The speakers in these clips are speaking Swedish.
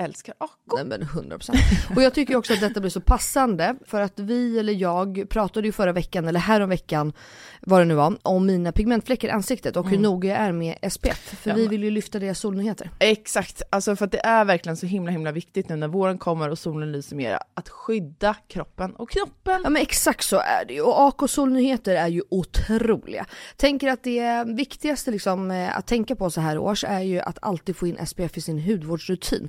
älskar Ako. Nej men 100%. Och jag tycker också att detta blir så passande för att vi eller jag pratade ju förra veckan eller häromveckan vad det nu var om mina pigmentfläckar i ansiktet och hur noga jag är med SPF. För Mm. Ja, vi men- vill ju lyfta deras solnyheter. Exakt, alltså för att det är verkligen så himla himla viktigt nu när våren kommer och solen lyser mer att skydda kroppen och knoppen. Ja men exakt så är det ju och AK Solnyheter är ju otroliga. Tänker att det viktigaste liksom eh, att tänka på så här års är ju att alltid få in SPF i sin hudvårdsrutin.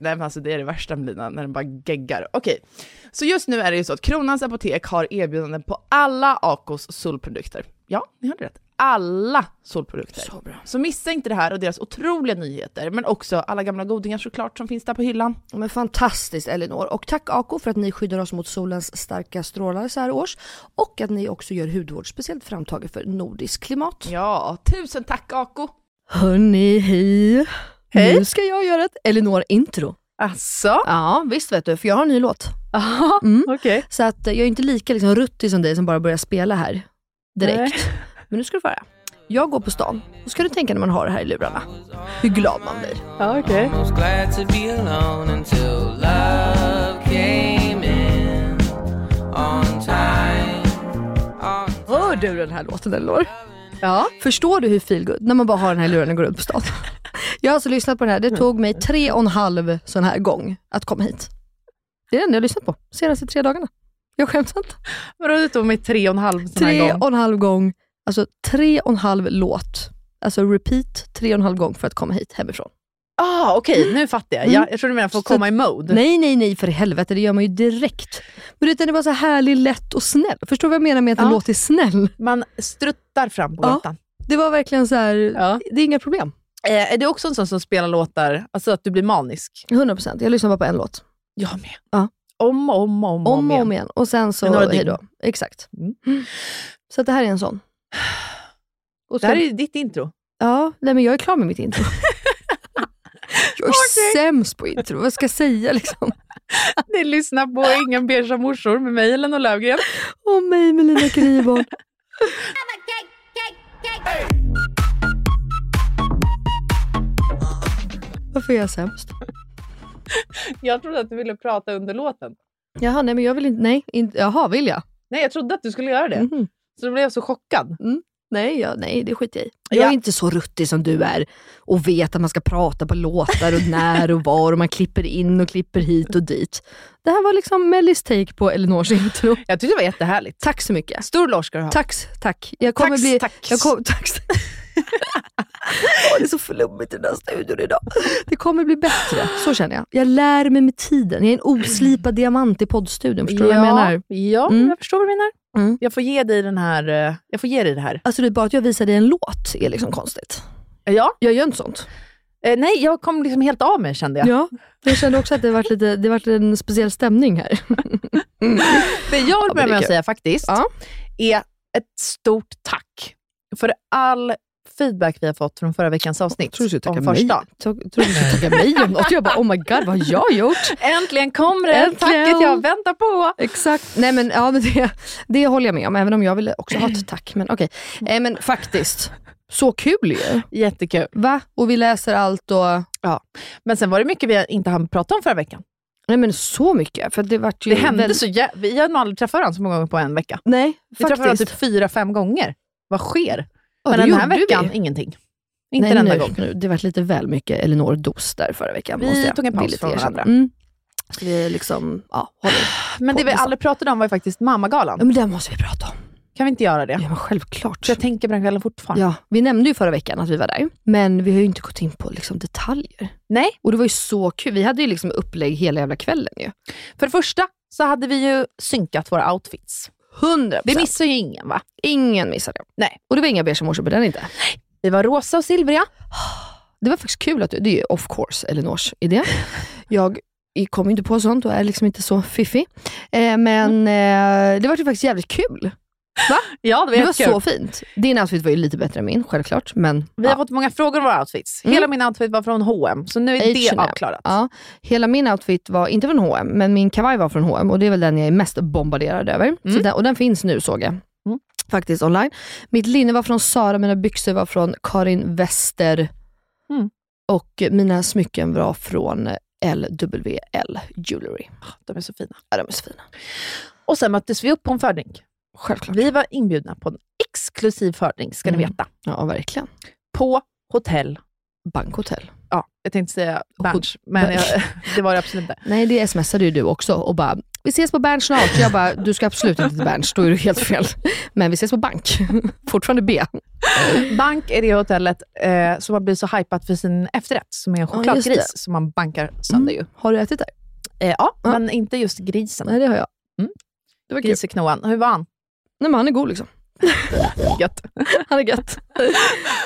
nej men alltså det är det värsta med lina, när den bara geggar. Okej, så just nu är det ju så att Kronans Apotek har erbjudanden på alla Acos solprodukter. Ja, ni hörde rätt. Alla solprodukter. Så, bra. så missa inte det här och deras otroliga nyheter, men också alla gamla godingar såklart som finns där på hyllan. Men fantastiskt Elinor. Och tack Ako för att ni skyddar oss mot solens starka strålar så här års. Och att ni också gör hudvård speciellt framtagen för nordiskt klimat. Ja, tusen tack Ako! Hörni, hej. Hej. Nu ska jag göra ett Elinor-intro. Alltså? Ja, visst vet du, för jag har en ny låt. Mm. Okej. Så att eh, jag är inte lika liksom ruttig som dig som bara börjar spela här direkt. Men nu ska du få höra. Jag går på stan, och ska du tänka när man har det här i lurarna, hur glad man blir. Ja, okej. was glad to be alone until love came in on time. On Hör du den här låten Elinor? Ja. Förstår du hur feelgood när man bara har den här i lurarna och går runt på stan? Jag har alltså lyssnat på den här, det tog mig tre och en halv sån här gång att komma hit. Det är det enda jag har lyssnat på, senaste tre dagarna. Jag skämtar inte. Vadå, du tog mig tre och en halv sån tre här gång? och en halv gång, alltså tre och en halv låt, alltså repeat tre och en halv gång för att komma hit hemifrån. Ah, okej, nu fattar jag. Mm. jag. Jag tror du menar för att Så- komma i mode. Nej, nej, nej för i helvete, det gör man ju direkt. Men du vet, den är bara så härlig, lätt och snäll. Förstår du vad jag menar med att en Ja. låt är snäll? Man struttar fram på Ja. gatan. Det var verkligen så här, Ja. det är inga problem. Eh, är du också en sån som spelar låtar, alltså att du blir manisk? 100%, jag lyssnar bara på en låt. Jag med. Ja. Om och om och om, Om och om igen. Och sen så, Men några hej dygn. då. Exakt. Mm. Mm. Så att det här är en sån. Och Det sen- här är ju ditt intro. Ja, nej men jag är klar med mitt intro. Jag är Okej. sämst på intro, vad ska jag säga liksom? Ni lyssnar på Ingen beiga morsor med mig, Elinor Löfgren. Åh mig med Lina Kryborn. Varför är jag sämst? Jag trodde att du ville prata under låten. Jaha, nej men jag vill inte, nej. Inte, jaha, vill jag? Nej, jag trodde att du skulle göra det. Mhm. Så då blev jag så chockad. Nej, jag, nej, det skiter jag i. Jag är Ja. inte så ruttig som du är och vet att man ska prata på låtar och när och var och man klipper in och klipper hit och dit. Det här var liksom Mellis take på Elinors intro. Jag tyckte det var jättehärligt. Tack så mycket. Stor lås ska du ha. Tack, tack. Jag kommer Tax, bli... tax. Jag kom, tax. Åh, det är så flummigt i den här studion idag. Det kommer bli bättre, så känner jag. Jag lär mig med tiden. Jag är en oslipad diamant i poddstudion, förstår du ja, vad jag menar? Ja, Mm. jag förstår vad du menar. Mm. Jag får ge dig den här. eh, Jag får ge dig det här. Alltså det är bara att jag visar dig en låt är liksom konstigt. Ja. Jag gör inte sånt. Eh, nej, jag kom liksom helt av mig kände jag. Ja, jag kände också att det varit, lite, det varit en speciell stämning här. Det jag vill men det är börja med att kul. säga faktiskt Ja. är ett stort tack för all feedback vi har fått från förra veckans avsnitt. Tror du skulle tacka om första. mig? Tror tror du skulle tacka mig om något? Jag bara, oh my god, vad har jag gjort? Äntligen kom det! Äntligen. Tacket jag väntar på! Exakt. Nej men, ja, men det, det håller jag med om, även om jag ville också ha ett tack. Men okej. Eh, men faktiskt, så kul ju. Jättekul. Va? Och vi läser allt och... Men sen var det mycket vi inte hann prata om förra veckan. Nej men så mycket. För det vart ju Det hände väldigt- så jä- Vi har nog aldrig träffat varandra så många gånger på en vecka. Nej, Vi träffar varandra faktiskt. typ fyra, fem gånger. Vad sker? Ja, Men det den här gjorde vi. veckan, ingenting. Inte Nej, en enda nu, gång. Nu, det vart lite väl mycket Elinor-dos där förra veckan. Vi måste jag tog en paus villigt från erkänna. varandra. Mm. Så vi liksom, ja, håller. Men det vi Poddisen. aldrig pratade om var ju faktiskt Ja, mammagalan. men det måste vi prata om. Kan vi inte göra det? Mm. Ja, men självklart. Så jag tänker på den kvällen fortfarande. Ja, vi nämnde ju förra veckan att vi var där, men vi har ju inte gått in på liksom detaljer. Nej, Och det var ju så kul. Vi hade ju liksom upplägg hela jävla kvällen ju. för det första så hade vi ju synkat våra outfits. 100 Det missar ju ingen va? Ingen missade det. Nej. Och det var inga beiga morsor på den inte. Vi var rosa och silvriga. Det var faktiskt kul att du, det är ju of course Elinors idé. Jag kom inte på sånt och är liksom inte så fiffig. Eh, men eh, det var ju faktiskt jävligt kul. Ja, Det var så fint. Din outfit var ju lite bättre än min, självklart. Men, Vi har ja. fått många frågor om våra outfits. Mm. Hela min outfit var från H&M så nu är H&M. det avklarat. Ja, hela min outfit var inte från H&M men min kavaj var från H&M och det är väl den jag är mest bombarderad över. Så Mm. den, och den finns nu såg jag. Mm. Faktiskt online. Mitt linne var från Sara, mina byxor var från Karin Wester Mm. och mina smycken var från LWL Jewelry. De är så fina. Ja, de är så fina. Och sen möttes vi upp på en fördrink. Självklart. Vi var inbjudna på en exklusiv fördrink, ska ni Mm. veta. Ja, verkligen. På hotell. Bankhotell. Ja, jag tänkte säga Och Berns, men Berns. jag, det var det absolut inte. Nej, det smsade ju du också och bara, vi ses på Berns snart. Jag bara, du ska absolut inte till Berns, då är du helt fel. Men vi ses på bank. Fortfarande B. Bank är det hotellet eh, som har blivit så hypat för sin efterrätt, som är en Ja, chokladgris just som man bankar sönder ju. Har du ätit där? Mm. Eh, ja, Ja. men inte just grisen. Nej, det har jag. Mm. Det var kul. Griseknoan. Hur var han? Nej, men han är god liksom. Gött. Han är gött.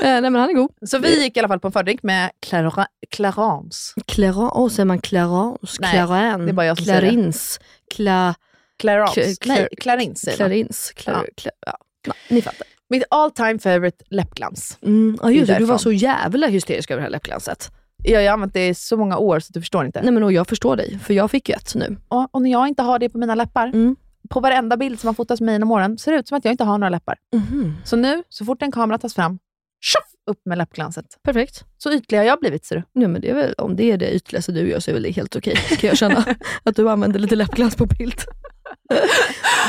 Eh, Nej men han är god. Så vi gick i alla fall på en fördrink med Clara, Clarence. Clarin, åh säger man Clarence, Nej, Clarin, det är bara jag som säger det. Clarins, Cla, Clarence. Cla- Nej, Clarins säger man. Clarins, Clar, ja. ja. Nej, ni fattar. Mitt all time favorite läppglans. Mm, ja, just det, du Därifrån. var så jävla hysterisk över det här läppglanset. Jag har använt det i så många år så du förstår inte. Nej men och jag förstår dig, för jag fick ju ett nu. Och, och när jag inte har det på mina läppar, Mm. på varenda bild som har fotats med mig genom åren, ser det ut som att jag inte har några läppar. Mhm. Så nu, så fort en kamera tas fram, tjoff, upp med läppglanset. Perfekt. Så ytlig har jag blivit ser du. Nej, men det är väl, om det är det ytligaste du gör så är väl det helt okej, kan jag känna. att du använder lite läppglans på bild.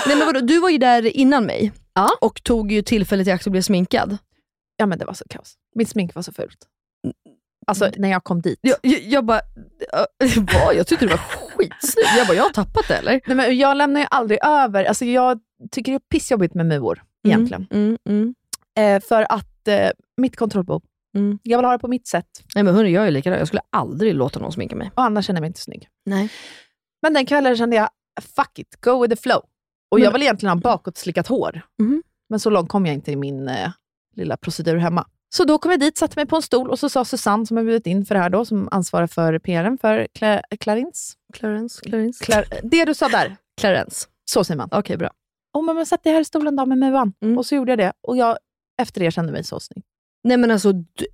Nej men vadå, du var ju där innan mig Ja. och tog ju tillfället i akt och blev sminkad. Ja men det var så kaos. Mitt smink var så fult. Mm. Alltså när jag kom dit. Jag, jag, jag bara, ja, vad? Jag tyckte det var skitsnyggt. Jag bara, jag har tappat det eller? Mm, Nej, men jag lämnar ju aldrig över, alltså jag tycker det är pissjobbigt med muor egentligen. Mm, mm. Eh, för att eh, mitt kontrollbehov, Mm. jag vill ha det på mitt sätt Nej men hörni, jag är likadan. Jag skulle aldrig låta någon sminka mig. och annars känner jag mig inte snygg. Nej. Men den kvällen kände jag, fuck it, go with the flow. Och Men- jag vill egentligen ha bakåtslickat hår. Mhm. Men så långt kom jag inte i min eh, lilla procedur hemma. Så då kom jag dit, satte mig på en stol och så sa Susanne, som jag bjudit in för det här då, som ansvarar för PRn för Cla- Clarins. Clarence, Clarence. Clar- det du sa där, Clarence. så säger man. Okej, bra. Oh, men man satt här i stolen då med muan. Mm. Och så gjorde jag det. Och jag, efter det kände jag mig så snygg. Nej men alltså, du,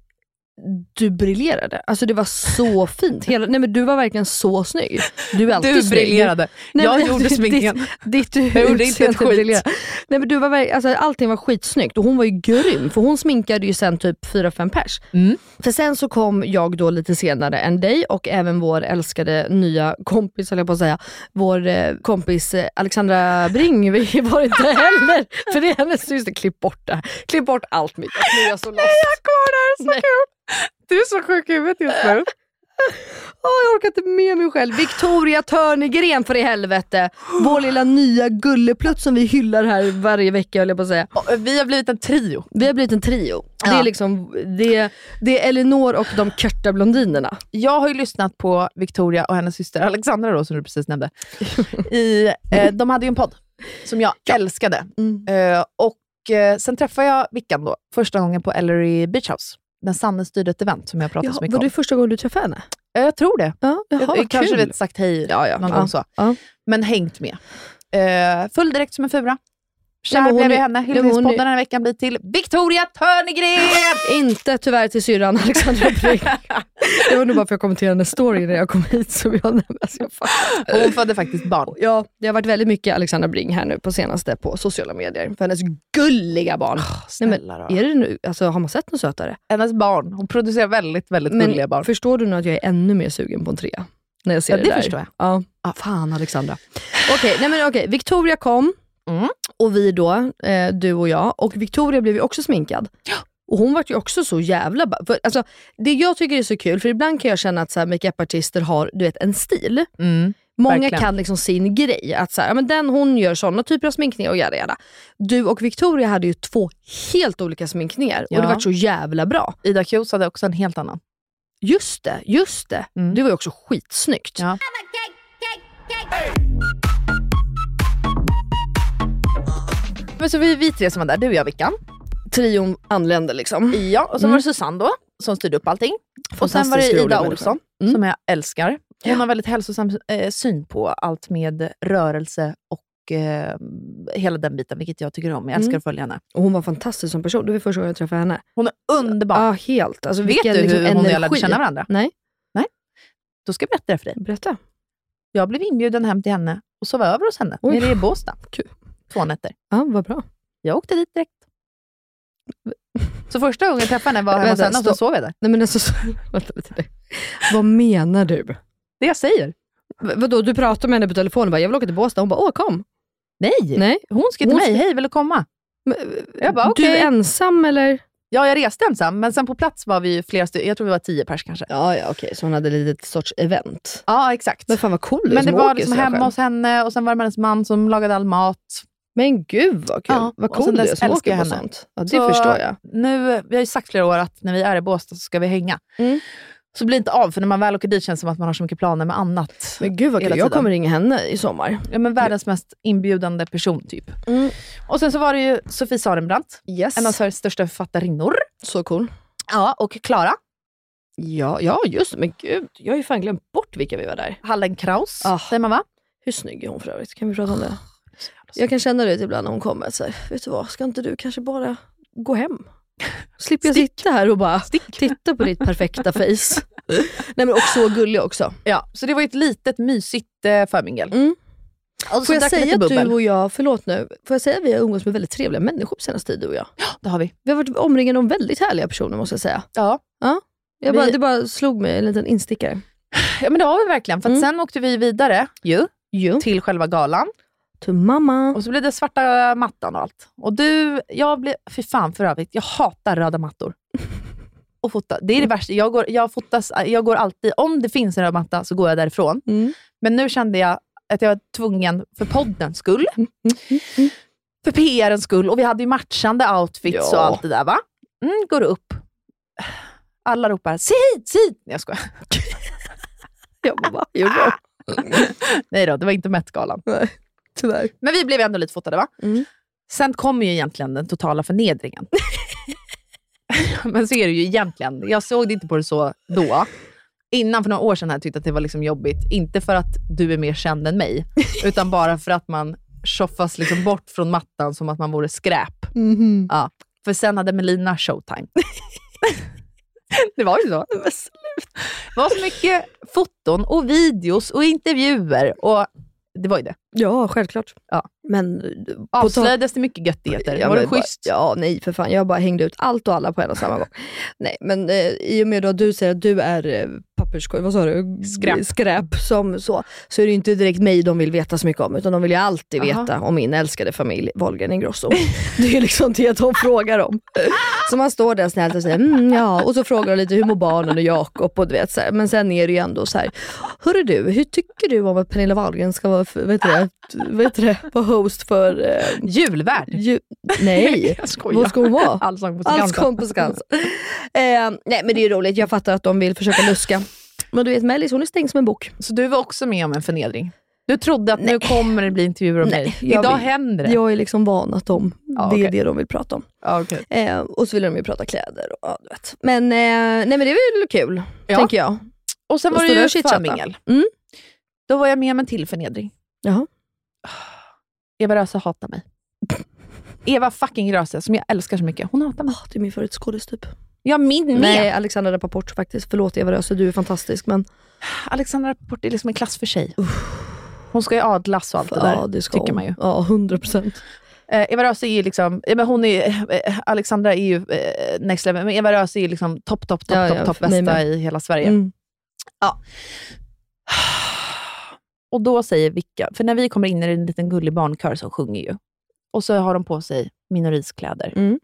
du briljerade. Alltså det var så fint. Hela, nej men du var verkligen så snygg. Du är alltid Du snygg. briljerade. Nej, jag men gjorde ditt- sminkningen. Ditt Jag gjorde inte ett utseende skit. briljerade. Nej, men du var, verk- alltså, allting var skitsnyggt och hon var ju grym för hon sminkade ju sen typ 4-5 pers. Mm. För sen så kom jag då lite senare än dig och även vår älskade nya kompis, höll jag på att säga, vår eh, kompis eh, Alexandra Bring vi var inte heller, för det är hennes syster. Klipp bort det här. Klipp bort allt mitt. Nu är jag så lost. Går där, så Nej. kul. Du är så sjuk i huvudet just nu. Åh, jag orkar inte med mig själv. Victoria Törnegren för i helvete. Vår lilla nya gulleplutt som vi hyllar här varje vecka höll jag på att säga. Och Vi har blivit en trio. Vi har blivit en trio. Det är liksom det, det är Elinor och de körta blondinerna. Jag har ju lyssnat på Victoria och hennes syster Alexandra då, som du precis nämnde. I, eh, de hade ju en podd som jag älskade. Mm. Eh, och eh, Sen träffade jag Vickan då, första gången på Ellery Beach House. När Sanne styrde ett event som jag pratade Jaha, så mycket var om. det första gången du träffade henne? Eh, jag tror det. Ja, jaha, jag, jag vad kanske kul. vet sagt hej Ja, ja, någon ja, gång så. ja. Men hängt med. Eh, full direkt som en fura. Nej, Kär men hon blev jag är- henne. nej, men hon är- Hyllningspodden den här veckan blir till Victoria Törnegren! Inte tyvärr till syrran Alexandra Brink. Det var nog bara för att jag kommenterade hennes story när jag kom hit. Som jag, nämnde. alltså jag fattar. Och Hon födde faktiskt barn. ja, det har varit väldigt mycket Alexandra Bring här nu på senaste på sociala medier. För hennes gulliga barn. Nej, men, snälla då. är det nu, alltså, har man sett något sötare? Hennes barn. Hon producerar väldigt, väldigt gulliga barn. förstår du nu att jag är ännu mer sugen på en trea? När jag ser Ja, det, det där. förstår jag. Ah, Ja. Fan Alexandra. Okej, nej men okej. Victoria kom Mm. och vi då, eh, du och jag. Och Victoria blev ju också sminkad. Och hon vart ju också så jävla... ba- För, alltså, det jag tycker är så kul, för ibland kan jag känna att så här, makeupartister har du vet, en stil. Mm. Många Verkligen. kan liksom sin grej. Att så här, ja, men den hon gör såna typer av sminkningar och jada jada. Du och Victoria hade ju två helt olika sminkningar och Ja. det vart så jävla bra. Ida Kjos hade också en helt annan. Just det, just det. Mm. Det var ju också skitsnyggt. Ja. Men så vi, vi tre som var där, du och jag Vickan. Trion anlände liksom. Ja, och så Mm. var det Susanne då, som styrde upp allting. Och sen var det Fantastiskt rolig Ida människa. Olsson, Mm. som jag älskar. Hon har väldigt hälsosam eh, syn på allt med rörelse och eh, hela den biten, vilket jag tycker om. Jag älskar Mm. att följa henne. Och hon var fantastisk som person. Det var första gången jag träffade henne. Hon är Ja, underbar. helt. Alltså, Vet du vilken, hur liksom, hon och jag lärde energi. känna varandra? Nej. Nej. Då ska jag berätta det för dig. Berätta. Jag blev inbjuden hem till henne och sov över hos henne Oj. nere i Båstad. Kul. Två nätter. Ja, vad bra. Jag åkte dit direkt. Så första gången jag träffade henne var hemma hos Vänta, henne och så stopp. sov jag där. Nej, men alltså, så- vänta lite. där. Vad menar du? Det jag säger. V- vadå, du pratar med henne på telefonen och bara, jag vill åka till Båstad. Hon bara, åh kom. Nej! Nej. Hon skrev till Hon mig, skrev- hej vill du komma? Men, Jag bara, Du okej. är ensam eller? Ja, jag reste ensam, men sen på plats var vi ju flera stycken, jag tror vi var tio pers kanske. Ja, ja okej. Så hon hade lite sorts event. Ja, exakt. Men fan vad cool du är Men det som var åker liksom så hemma själv. hos henne och sen var det med hennes man som lagade all mat. Men gud vad kul. Ja, vad och sen cool du är dess som älskar åker jag på henne. sånt. Ja, det Så förstår jag. Nu, vi har ju sagt flera år att när vi är i Båstad så ska vi hänga. Mm. Så blir det inte av, för när man väl åker dit känns det som att man har så mycket planer med annat. Men gud vad hela kul. Jag tiden. kommer ringa henne i sommar. Ja, men världens mest inbjudande person typ. Mm. Och sen så var det ju Sofie Sarenbrant, Yes. en av Sveriges största författarinnor. Så cool. Ja, och Klara Ja, ja just det. Men gud, jag har ju fan glömt bort vilka vi var där. Hallenkraus, Ah. säger man va? Hur snygg är hon för övrigt? Kan vi prata om Ah, det? Jag kan känna det ibland när hon kommer. att Så här, vet du vad, ska inte du kanske bara gå hem? Slipper jag sitta här och bara titta på ditt perfekta face. Nej men och så gullig också. Ja, så det var ju ett litet mysigt eh, förmingel. Mm. Och så Får jag drack vi säga lite att du bubbel. och jag, förlåt nu, får jag säga att vi har umgåtts med väldigt trevliga människor på senaste tiden du och jag. Det har vi. Vi har varit omringade av väldigt härliga personer måste jag säga. Ja. Jag Vi- bara, Det bara slog mig, en liten instickare. ja, men det har vi verkligen. För att Mm. sen åkte vi vidare ju, Jo. till själva galan. To mamma. Och så blev det svarta mattan och allt. Och du, jag blev... Fy fan för övrigt, jag hatar röda mattor. Och fota. Det är det värsta. Jag går, jag, fotas, jag går alltid, om det finns en röd matta så går jag därifrån. Mm. Men nu kände jag att jag var tvungen för poddens skull, för PRens skull och vi hade ju matchande outfits Ja. och allt det där. va? Mm, går upp. Alla ropar “Se hit, se hit!” Nej, jag skojar. Jag bara, va? Gjorde jag? Nej då, det var inte Met-galan. Tyvärr. Men vi blev ändå lite fotade va? Mm. Sen kommer ju egentligen den totala förnedringen. Men så är det ju egentligen. Jag såg det inte på det så då. Innan för några år sedan hade jag tyckt att det var liksom jobbigt. Inte för att du är mer känd än mig, utan bara för att man tjoffas liksom bort från mattan som att man vore skräp. Ja. För sen hade Melina showtime. Det var ju så. Det var så mycket foton och videos och intervjuer. Och det var ju det. Ja, självklart. Ja. Men eh, på tal- Avslöjades det mycket göttigheter? Ja, var men det jag bara- schysst? Ja, nej för fan. Jag bara hängde ut allt och alla på en och samma gång. Nej, men eh, i och med då att du säger att du är eh, papperskorg, vad sa du? Skräp. Skräp som så, så är det ju inte direkt mig de vill veta så mycket om, utan de vill ju alltid Aha. veta om min älskade familj Wahlgren Ingrosso. Det är ju liksom det de frågar om. Så man står där snällt och säger mm, ja, och så frågar de lite hur mår barnen och Jakob och du vet så här. Men sen är det ju ändå så här, hörru du, hur tycker du om att Pernilla Wahlgren ska vara, för- vet du det, vet du det, vara host för eh, Julvärd? Ju, nej, Jag skojar. vad ska hon vara? Allsång på Allsång på Skansen. eh, nej men det är ju roligt, jag fattar att de vill försöka luska. Men du vet Mellis, hon är stängd som en bok. Så du var också med om en förnedring? Du trodde att nu kommer det bli intervjuer om Nej, dig. jag Idag vill- händer det. Jag är liksom van att de, Ja, det är okej. det de vill prata om. Ja, okej. Eh, och så vill de ju prata kläder och ja, du vet. Men, eh, nej, men det är väl kul, Ja. tänker jag. Och sen Och var det stå där ju och chitchatta. förmingel. Mm. Då var jag med om en till förnedring. Jaha. Eva Röse hatar mig. Eva fucking Röse, som jag älskar så mycket, hon hatar mig. Ah, det är min favoritskådis typ. Ja, min med. Nej, Alexandra Rapaport faktiskt. Förlåt Eva Röse, du är fantastisk men Alexandra Rapport är liksom en klass för sig. Hon ska ju adlas och allt det där, ja, det ska tycker hon. man ju. Ja, 100%. Eh, Eva Röse är ju liksom, ja, men hon är, eh, Alexandra är ju eh, next level, men Eva Röse är ju liksom topp, topp, topp, Ja, topp, ja, topp för mig bästa med. i hela Sverige. Mm. Och då säger Vicka, för när vi kommer in är det en liten gullig barnkör som sjunger ju. Och så har de på sig minoriskläder. Mm.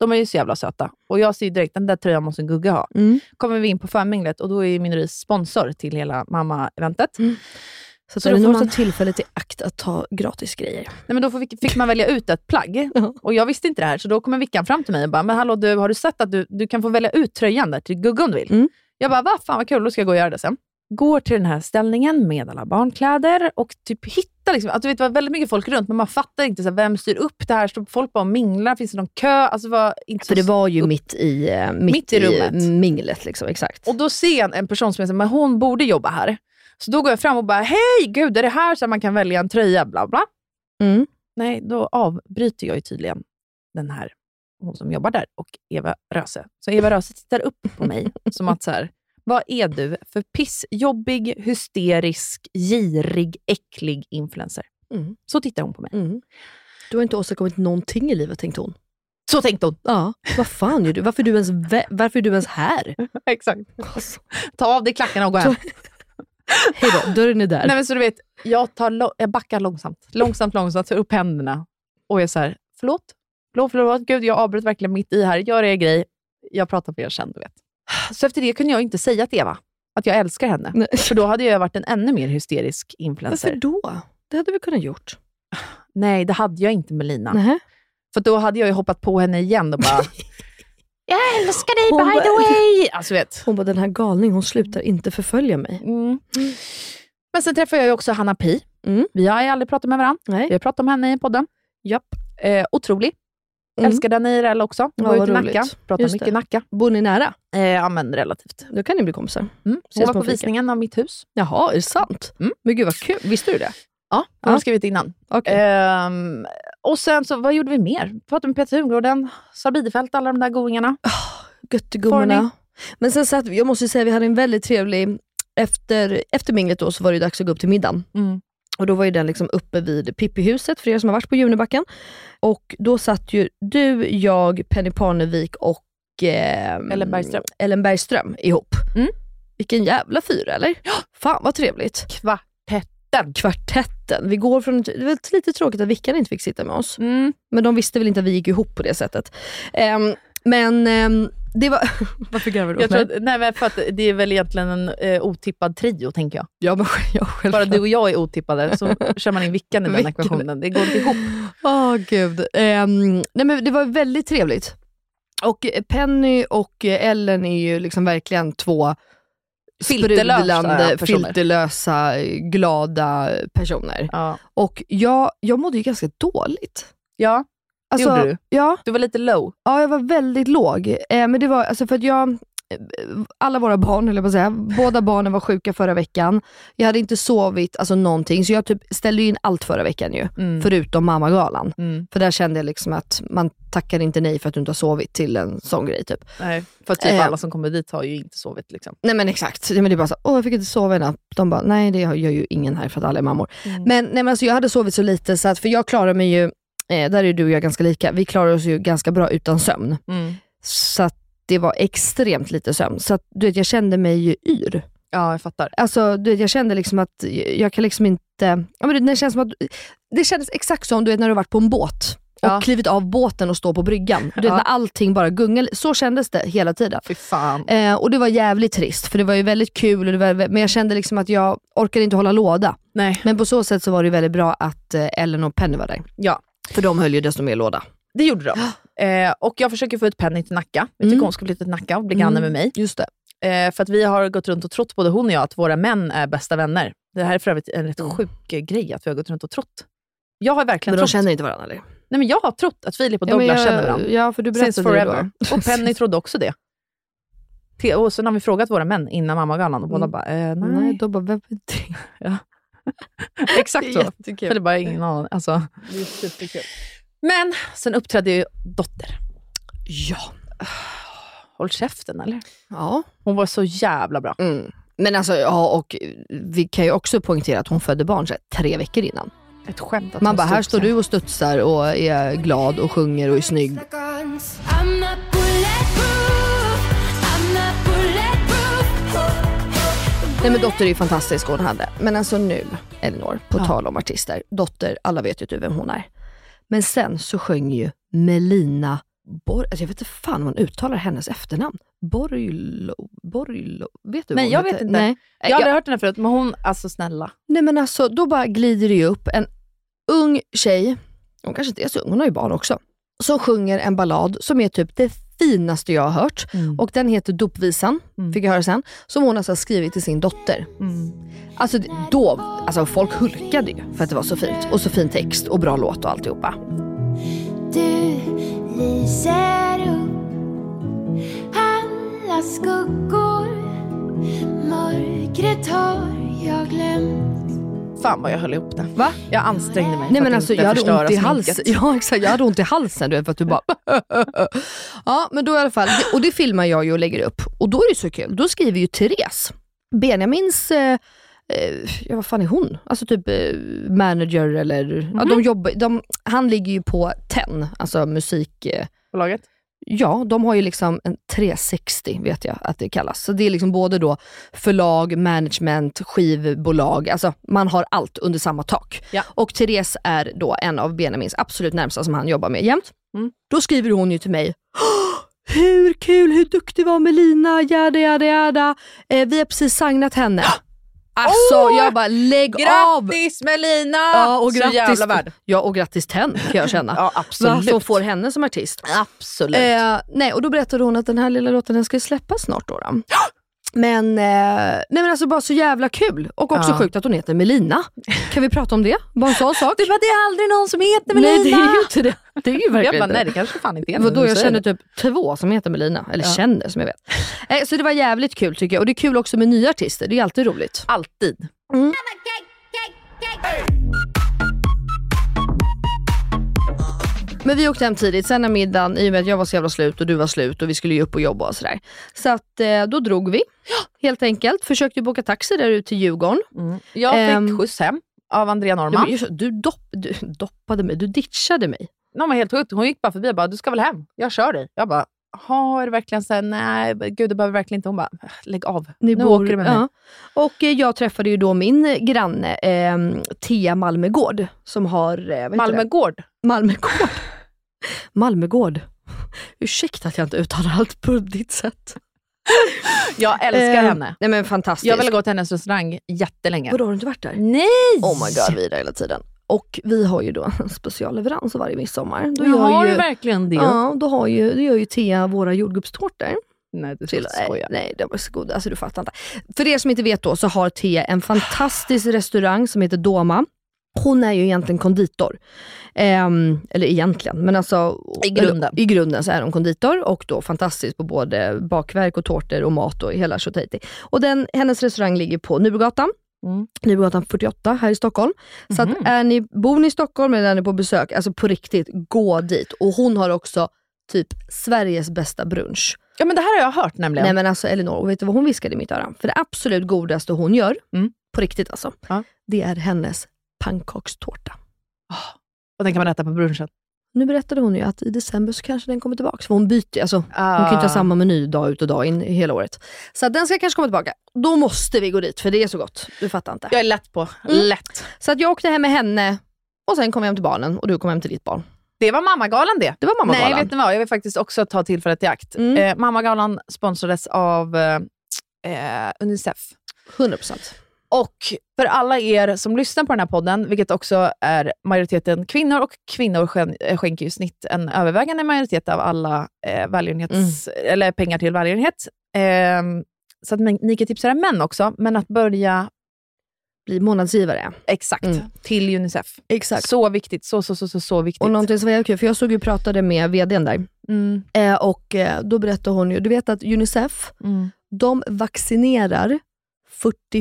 De är ju så jävla söta. Och jag ser ju direkt, den där tröjan måste en Gugga ha. Mm. Kommer vi in på förminglet och då är ju Minoris sponsor till hela mamma-eventet. Mm. Så Så, så det då är får nog man- också tillfället i akt att ta gratis grejer. Nej, men då får vi- fick man välja ut ett plagg. Ja. Och jag visste inte det här, så då kommer Vickan fram till mig och bara, men hallå du, har du sett att du, du kan få välja ut tröjan där till Gugga om du vill? Mm. Jag bara, va fan vad kul, då ska jag gå och göra det sen. Går till den här ställningen med alla barnkläder och typ hittar, liksom, att du vet, det var väldigt mycket folk runt, men man fattar inte så här, vem styr upp det här. Står folk bara och minglar? Finns det någon kö? Alltså, var inte För så det var ju mitt i, eh, mitt Mitt i rummet. i minglet. Liksom, exakt. Och då ser jag en person som jag säger, men hon borde jobba här. Så då går jag fram och bara, hej gud, är det här så att man kan välja en tröja? Bla bla. Mm. Nej, då avbryter jag ju tydligen den här, hon som jobbar där och Eva Röse. Så Eva Röse tittar upp på mig som att så här, vad är du för pissjobbig, hysterisk, girig, äcklig influencer? Mm. Så tittar hon på mig. Mm. Du har inte åstadkommit någonting i livet tänkte hon. Så tänkte hon. Ja, vad fan gör du? Varför är du ens, vä- varför är du ens här? Exakt. Alltså, Ta av dig klackarna och gå hem. hej då, dörren är där. Nej, men så du vet, jag, tar lo- jag backar långsamt. Långsamt, långsamt, tar upp händerna och är så här, förlåt? Förlåt, förlåt, gud, jag avbröt verkligen mitt i här. Gör er grej. Jag pratar med er sen, du vet. Så efter det kunde jag inte säga till Eva att jag älskar henne. Nej. För då hade jag varit en ännu mer hysterisk Varför influencer. då? Det hade vi kunnat gjort. Nej, det hade jag inte med Lina. Nej. För då hade jag ju hoppat på henne igen och bara, jag älskar dig Hon by the bara- way! Alltså, du vet. Hon bara, den här galning, hon slutar inte förfölja mig. Mm. Men sen träffade jag ju också Hanna Pi. Mm. Vi har ju aldrig pratat med varandra. Vi Nej. har pratat om henne i podden. Japp. Eh, otrolig. Mm. Älskar den IRL också. Ja, var ute i vad Nacka. roligt. Pratar Just mycket det. i Nacka. Bor ni nära? Eh, ja, men relativt. Då kan ni bli kompisar. Mm. Hon Ses var på på fika. visningen av mitt hus. Jaha, är det sant? Mm. Men gud vad kul. Visste du det? Eh, Ja, hon Ja. har skrivit innan. Okej. Ehm, och sen så, vad gjorde vi mer? Pratade med Peter Hungården, Sara Bidefeld, alla de där goingarna. Får Göttegummorna. Men sen satt vi, jag måste ju säga, vi hade en väldigt trevlig, efter, efter minglet då så var det ju dags att gå upp till middagen. Mm. Och då var ju den liksom uppe vid Pippihuset, för er som har varit på Junibacken. Och då satt ju du, jag, Penny Parnevik och ehm, Ellen Bergström. Ellen Bergström ihop. Mm. Vilken jävla fyra eller? Fan vad trevligt. Kvartetten. Kvartetten. Vi går från, det var lite tråkigt att Vickan inte fick sitta med oss. Mm. Men de visste väl inte att vi gick ihop på det sättet. Ehm, men ehm, det var... Varför garvar Jag tror att, nej, men för att det är väl egentligen en eh, otippad trio, tänker jag. Ja, men jag själv. Bara du och jag är otippade, så kör man in Vickan i den Vickan. ekvationen. Det går inte ihop. Åh gud. Ehm, nej, men det var väldigt trevligt. Och eh, Penny och eh, Ellen är ju liksom verkligen två Filterlösa sprudlande, personer. filterlösa, glada personer. Ja. Och jag, jag mådde ju ganska dåligt. Alltså, ja, alltså- det gjorde du. Ja, Du var lite low. Ja, jag var väldigt låg. Eh, men det var alltså för att jag alla våra barn, eller jag säga, båda barnen var sjuka förra veckan. Jag hade inte sovit alltså någonting, så jag typ ställde ju in allt förra veckan ju. Förutom mammagalan. Mm. För där kände jag liksom att man tackar inte nej för att du inte har sovit till en sån grej. Typ. Nej, för typ Eh. alla som kommer dit har ju inte sovit. Liksom. Nej men exakt. Nej, men det är bara så, åh jag fick inte sova i natt. De bara, nej det gör ju ingen här för att alla är mammor. Mm. Men, nej, men alltså, jag hade sovit så lite, så att, för jag klarar mig ju, eh, där är du och jag ganska lika, vi klarar oss ju ganska bra utan sömn. Mm. Så att det var extremt lite sömn. Så att, du vet, jag kände mig ju yr. Ja, jag fattar. Alltså, du vet, jag kände liksom att jag kan liksom inte... Ja, men det, det, känns som att, det kändes exakt som du vet, när du varit på en båt och Ja. klivit av båten och står på bryggan. Du vet, Ja. när allting bara gungar. Så kändes det hela tiden. Fy fan. Eh, och det var jävligt trist, för det var ju väldigt kul, och det var, men jag kände liksom att jag orkade inte hålla låda. Nej. Men på så sätt så var det väldigt bra att eh, Ellen och Penny var där. Ja, För de höll ju desto mer låda. det gjorde de. Eh, och jag försöker få ut Penny till Nacka. Jag tycker Mm. hon ska flytta till Nacka och bli granne med mig. Just det. Eh, för att vi har gått runt och trott, både hon och jag, att våra män är bästa vänner. Det här är för övrigt en rätt sjuk eh, grej, att vi har gått runt och trott. Jag har verkligen Mm. Men de trott. känner inte varandra eller? Nej, men jag har trott att Filip och men Douglas känner varandra. Ja, för du Since berättade det forever. då. Och Penny trodde också det. Te- Och sen har vi frågat våra män innan mammagalan och båda Mm. bara, eh, nej. Nej, då bara, vem vet det? Exakt så. Jättekul. Filip bara, ingen aning. Alltså. Men sen uppträdde ju dotter. Ja. Håll käften eller? ja. Hon var så jävla bra. Mm. Men alltså, ja, och vi kan ju också poängtera att hon födde barn så här, tre veckor innan. Ett skämt att Man hon bara, här stod står sig. du och studsar och är glad och sjunger och är snygg. Seconds. I'm not bulletproof. I'm not bulletproof. Nej men Dotter är ju fantastisk hon hade. Men alltså nu, Elinor, på Ja. tal om artister. Dotter, alla vet ju typ vem hon är. Men sen så sjöng ju Melina Borg, alltså jag vet inte fan hur man uttalar hennes efternamn. Borglo, Borglo, vet du vad Nej, hon jag heter? vet inte. Nej. Jag Jag- hade hört den här förut, men hon, alltså snälla. Nej men alltså, då bara glider det ju upp en ung tjej, hon kanske inte är så ung, hon har ju barn också, som sjunger en ballad som är typ det finaste jag har hört. Och den heter Dopvisan, fick jag höra sen, som hon alltså har skrivit till sin dotter. Alltså det- då, alltså folk hulkade ju för att det var så fint. Och så fin text och bra låt och alltihopa. Du lyser upp alla skuggor. Mörkret har jag glömt. Fan vad jag höll ihop det. Va? Jag ansträngde mig Nej för men att alltså inte jag hade förstöra ont i sminket. halsen. Ja exakt, jag hade ont i halsen du vet för att du bara Ja men då i alla fall, och det filmar jag ju och lägger upp. Och då är det så kul, då skriver ju Therese, Benjamins, eh, eh, ja vad fan är hon? Alltså typ eh, manager eller, ja, Mhm. de jobbar, de, han ligger ju på TEN, alltså musik... Eh, Bolaget? Ja, de har ju liksom en 360 vet jag att det kallas. Så det är liksom både då förlag, management, skivbolag. Alltså man har allt under samma tak. Ja. Och Therese är då en av Benjamins absolut närmsta som han jobbar med jämt. Mm. Då skriver hon ju till mig "Åh, hur kul, hur duktig var Melina, jada jada jada. Eh, vi har precis signat henne. Alltså Åh! jag bara lägg av! Grattis Melina! Ja, och Så jävla grattis, värd. ja, och grattis Tenn kan jag känna. Ja, absolut. Som får henne som artist. Absolut. Eh, nej, och då berättade hon att den här lilla låten den ska ju släppas snart. Då, då. Men, eh, nej men alltså bara så jävla kul. Och också Ja. sjukt att hon heter Melina. Kan vi prata om det? Bara en sån sak. Du bara, det är aldrig någon som heter nej, det är ju inte det. Det är ju verkligen Jag bara, nej inte det kanske fan inte är det. någon Vadå, som jag säger känner det. typ två som heter Melina. Eller Ja. känner som jag vet. Eh, så det var jävligt kul tycker jag. Och det är kul också med nya artister. Det är alltid roligt. Mm. Alltid. Men vi åkte hem tidigt, sen när middagen, i och med att jag var så jävla slut och du var slut och vi skulle ju upp och jobba och sådär. Så att eh, då drog vi, helt enkelt. Försökte boka taxi där ute till Djurgården. Jag fick Ehm. skjuts hem av Andrea Ja, Norman. men just, du, dopp, du doppade mig, du ditchade mig. Någon var helt sjukt. Hon gick bara förbi och bara, du ska väl hem? Jag kör dig. Jag bara, jaha, är det verkligen så? här? Nej, gud du behöver verkligen inte. Hon bara, lägg av. Ni nu bor- åker du med mig. ja. Och eh, jag träffade ju då min eh, granne, eh, Thea Malmegård, som har... Eh, vad heter det? Malmögård. Malmegård. Malmegård. Ursäkta att jag inte uttalar allt på ditt sätt. Jag älskar Eh, henne. Nej men fantastiskt. Jag ville gå till hennes restaurang jättelänge. Vadå, har du inte varit där? Nej! Oh my god, vi är där hela tiden. Och vi har ju då en specialleverans varje midsommar. Då Du har gör ju ju, verkligen det. ja, då har ju, då gör ju Thea våra jordgubbstårtar. Nej, du till. Nej, skojar. nej, de är så goda. Alltså, du fattar inte. För er som inte vet då så har Thea en fantastisk restaurang som heter Doma. Hon är ju egentligen konditor. Ehm, eller egentligen, men alltså... I grunden. I grunden så är hon konditor och då fantastisk på både bakverk och tårtor och mat och hela tjottahejti. Och den, hennes restaurang ligger på Nybrogatan. Mm. Mhm. Nybrogatan 48 här i Stockholm. Så att är ni, bor ni i Stockholm eller är ni på besök, alltså på riktigt, gå dit. Och hon har också typ Sveriges bästa brunch. Ja men det här har jag hört nämligen. Nej men alltså Elinor, och vet du vad hon viskade i mitt öra? För det absolut godaste hon gör, Mm. på riktigt alltså, Ja. det är hennes pannkakstårta. Och den kan man äta på brunchen. Nu berättade hon ju att i december så kanske den kommer tillbaka. För hon byter alltså, hon kan Ah. ju inte ha samma meny dag ut och dag in hela året. Så att den ska kanske komma tillbaka. Då måste vi gå dit, för det är så gott. Du fattar inte. Jag är lätt på. Mm. Lätt. Så att jag åkte hem med henne, och sen kom jag hem till barnen och du kom hem till ditt barn. Det var mammagalan det. Det var mammagalan. Nej, vet ni vad? Jag vill faktiskt också ta tillfället i akt. Mm. Eh, mammagalan sponsrades av eh, eh, Unicef. 100%. Och för alla er som lyssnar på den här podden, vilket också är majoriteten kvinnor, och kvinnor skän- eh, skänker ju i snitt en övervägande majoritet av alla eh, välgörenhets, Mm. eller pengar till välgörenhet. Ehm, så att men- ni kan tipsa era män också, men att börja Bli månadsgivare. exakt Mm. till Unicef. Exakt. Så viktigt. Så, så, så, så, så viktigt. Och någonting som var jävligt kul, för jag såg ju och pratade med vdn där. mm, Eh, och eh, då berättade hon ju, du vet att Unicef, mm. de vaccinerar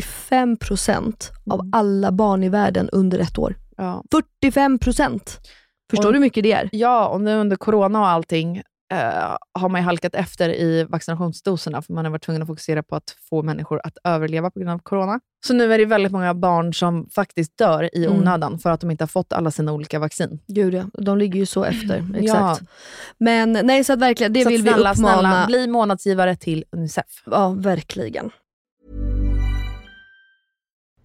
45% av alla barn i världen under ett år. Ja. 45%! Förstår Och- du hur mycket det är? ja, och nu under corona och allting eh, har man ju halkat efter i vaccinationsdoserna, för man har varit tvungen att fokusera på att få människor att överleva på grund av corona. Så nu är det väldigt många barn som faktiskt dör i Mm. onödan för att de inte har fått alla sina olika vaccin. Gud ja, de ligger ju så efter. Exakt. Ja. Men nej, så att verkligen, det Så att vill snälla, vi uppmana. snälla, bli månadsgivare till Unicef. Ja, verkligen.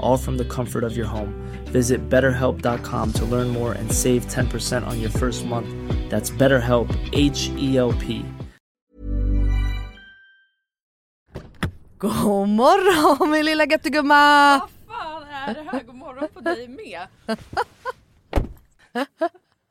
all from the comfort of your home. Visit betterhelp.com to learn more and save 10% on your first month. That's BetterHelp, H E L P. God morgon min lilla göttegumma! fan är det här? God morgon på dig med.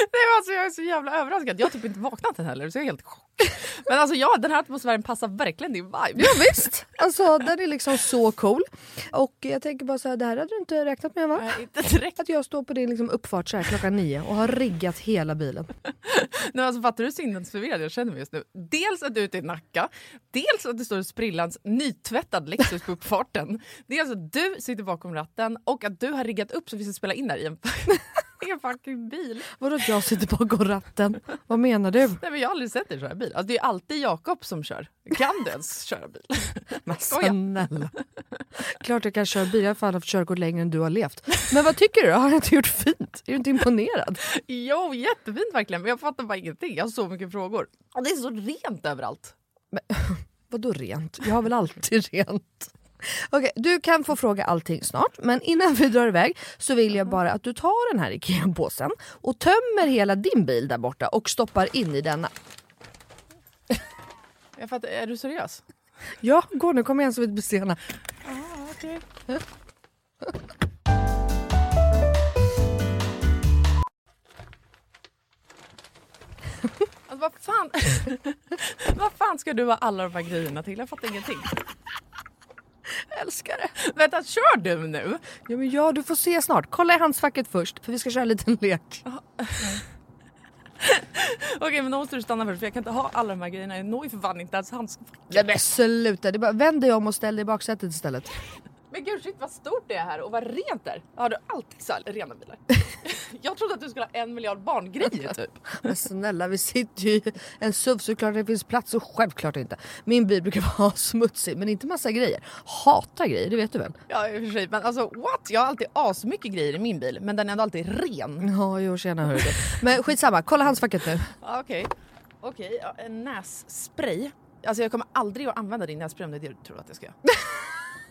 Nej, men alltså, jag är så jävla överraskad. Jag har typ inte vaknat än heller så jag är helt i chock. Men alltså, ja, den här atmosfären passar verkligen din vibe. Ja, visst, alltså den är liksom så cool. Och jag tänker bara så här, det här hade du inte räknat med va? Nej, inte direkt. Att jag står på din liksom uppfart så här klockan nio och har riggat hela bilen. Nej, alltså, fattar du hur sinnesförvirrad jag känner mig just nu? Dels att du är ute i Nacka, dels att du står i sprillans nytvättad Lexus på uppfarten. Dels att du sitter bakom ratten och att du har riggat upp så vi ska spela in där i en, i en fucking bil. Vadå att jag sitter bakom ratten? Vad menar du? Nej, men jag har aldrig sett dig köra bil. Alltså, det är alltid Jakob som kör. Kan du ens köra bil? Men Skoja. snälla. Klart jag kan köra bil, jag har fan haft körkort längre än du har levt. Men vad tycker du? Har jag inte gjort fint? Är du inte imponerad? Jo, jättefint verkligen. Men jag fattar bara ingenting. Jag har så mycket frågor. Och det är så rent överallt. Vadå rent? Jag har väl alltid rent? Okej, du kan få fråga allting snart, men innan vi drar iväg så vill jag bara att du tar den här IKEA-påsen och tömmer hela din bil där borta och stoppar in i denna. Jag fattar, är du seriös? Ja, gå nu, kom igen så vi inte blir sena. Alltså, vad, fan, vad fan ska du ha alla de här grejerna till? Jag fattar ingenting. Älskar det. Vänta, kör du nu? Ja, men ja, du får se snart. Kolla i handskfacket först, för vi ska köra en liten lek. Okej, men då måste du stanna först för jag kan inte ha alla de här grejerna. Jag når ju för fan inte ens hans... Nej men sluta, det är bara, vänd dig om och ställ dig i baksätet istället. Men gud shit vad stort det är här och vad rent det är. Har du alltid så här rena bilar? jag trodde att du skulle ha en miljard barngrejer typ. Men snälla vi sitter ju i en SUV såklart det finns plats och självklart inte. Min bil brukar vara smutsig men inte massa grejer. Hatar grejer, det vet du väl? Ja i och för sig, men alltså what? Jag har alltid asmycket grejer i min bil men den är ändå alltid ren. Ja, jo tjena hörru du. Men skitsamma, kolla handskfacket nu. Ja, Okej, okej. ja, en nässpray. Alltså jag kommer aldrig att använda din nässpray om det är det du tror att jag ska göra.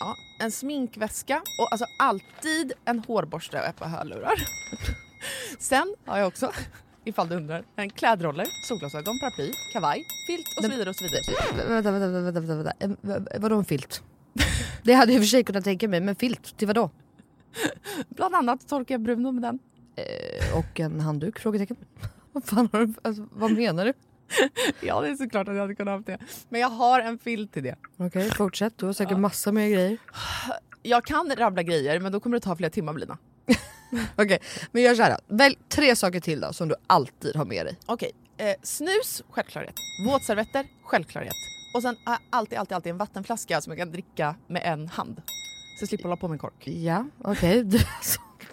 Ja, en sminkväska och alltså alltid en hårborste och ett par hörlurar. Sen har jag också, ifall du undrar, en klädroller, solglasögon, paraply, kavaj, filt och så vidare och så vidare. Vä- Vänta, vänta, vänta, vänta, vänta. Eh, va- vadå en filt? Det hade jag i och för sig kunnat tänka mig men filt till vadå? Bland annat torkar jag Bruno med den. Eh, och en handduk? Frågetecken. Vad fan har du, alltså, vad menar du? Ja, det är såklart att jag hade kunnat ha haft det. Men jag har en filt till det. Okej fortsätt, du har säkert massa mer grejer. Jag kan rabbla grejer, men då kommer det ta flera timmar Lina. Okej, men gör såhär då. Välj tre saker till då som du alltid har med dig. Okej, eh, snus, självklarhet. Våtservetter, självklarhet. Och sen har jag alltid, alltid, alltid en vattenflaska som jag kan dricka med en hand. Så jag slipper hålla på med en kork. Ja, okej. Du, alltså,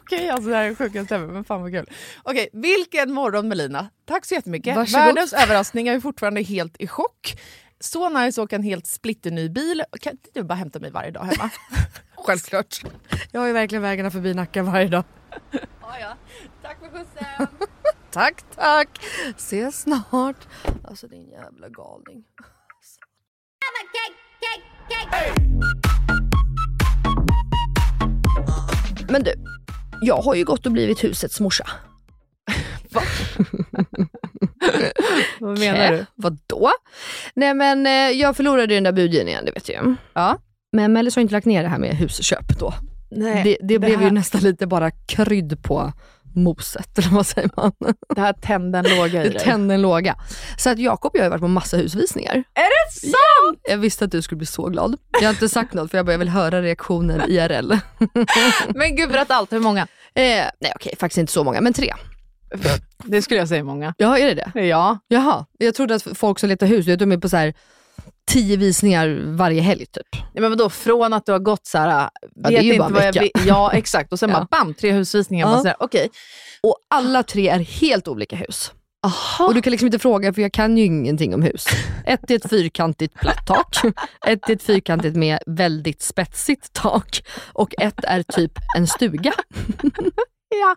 Okej, alltså det här är sjukaste ever, men fan vad kul. Okej, vilken morgon Melina. Tack så jättemycket. Varsågod. Världens överraskning, jag är fortfarande helt i chock. Så nice att åka en helt splitterny bil. Kan inte du bara hämta mig varje dag hemma? Självklart. Jag har ju verkligen vägarna förbi Nacka varje dag. Tack för skjutsen! Tack, tack. Ses snart. Alltså din jävla galning. Men du, jag har ju gått och blivit husets morsa. Vad Eh, Vadå? Nej men eh, jag förlorade ju den där budgivningen igen, det vet jag ju. Ja. Men Mellis har inte lagt ner det här med husköp då. Nej, det det, blev Eh, här- ju nästan lite bara krydd på moset, eller vad säger man? Det här tände en låga i Det dig. tände en låga. Så att Jakob och jag har ju varit på massa husvisningar. Är det sant? Jag visste att du skulle bli så glad. Jag har inte sagt något för jag bara, jag vill höra reaktionen IRL. eh, Men gud, berätta allt. Hur många? nej okej, faktiskt inte så många, men tre. Det skulle jag säga många. Ja, är det det? Ja. Jaha, jag trodde att folk som letar hus, du vet, de är på så här tio visningar varje helg typ. Nej, men vadå, från att du har gått så här, äh, det är ju bara en vecka. vill- Ja, exakt. Och sen bara bam, tre husvisningar. Ja. Ja. Okej. Och alla tre är helt olika hus. Och du kan liksom inte fråga för jag kan ju ingenting om hus. Ett är ett fyrkantigt platt tak, ett är ett fyrkantigt med väldigt spetsigt tak och ett är typ en stuga. Ja.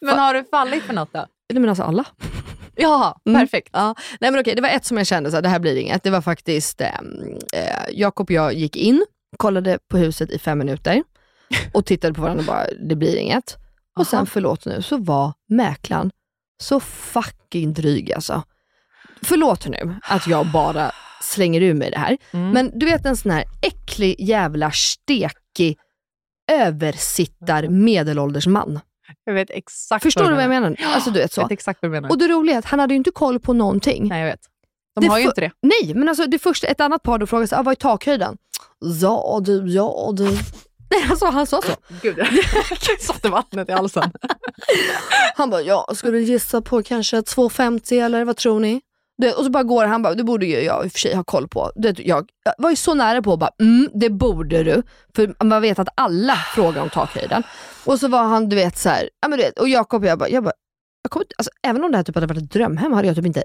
Men har du fallit för något då? Nej men alltså alla. Mm. Ja, perfekt. Ja. Nej men okej, det var ett som jag kände så här, det här blir inget. Det var faktiskt, eh, eh, Jakob och jag gick in, kollade på huset i fem minuter och tittade på varandra och bara, det blir inget. Och sen, förlåt nu, så var mäklaren så fucking dryg alltså. Förlåt nu att jag bara slänger ur mig det här, men du vet en sån här äcklig jävla stekig översittar medelålders man. Jag vet exakt Förstår du vad jag menar? Alltså du vet så. Jag vet exakt vad du menar. Och det roliga är att han hade ju inte koll på någonting. Nej, jag vet. De har ju fu- inte det. Nej, men alltså det första, ett annat par då frågade sig, ah, vad är takhöjden? Ja du, ja du. Nej, alltså, han sa så. Gud, jag satte vattnet i halsen. Han bara, ja, skulle du gissa på kanske 2,50 eller vad tror ni? Du, vet, och så bara går han bara, det borde ju jag i och för sig ha koll på. Du vet, jag, jag var ju så nära på att bara, mm, det borde du. För man vet att alla frågar om takhöjden. Och så var han, du vet, så här, ja, men du vet och Jakob och jag bara, jag bara jag kommer, inte- alltså, även om det här typ hade varit ett drömhem hade jag typ inte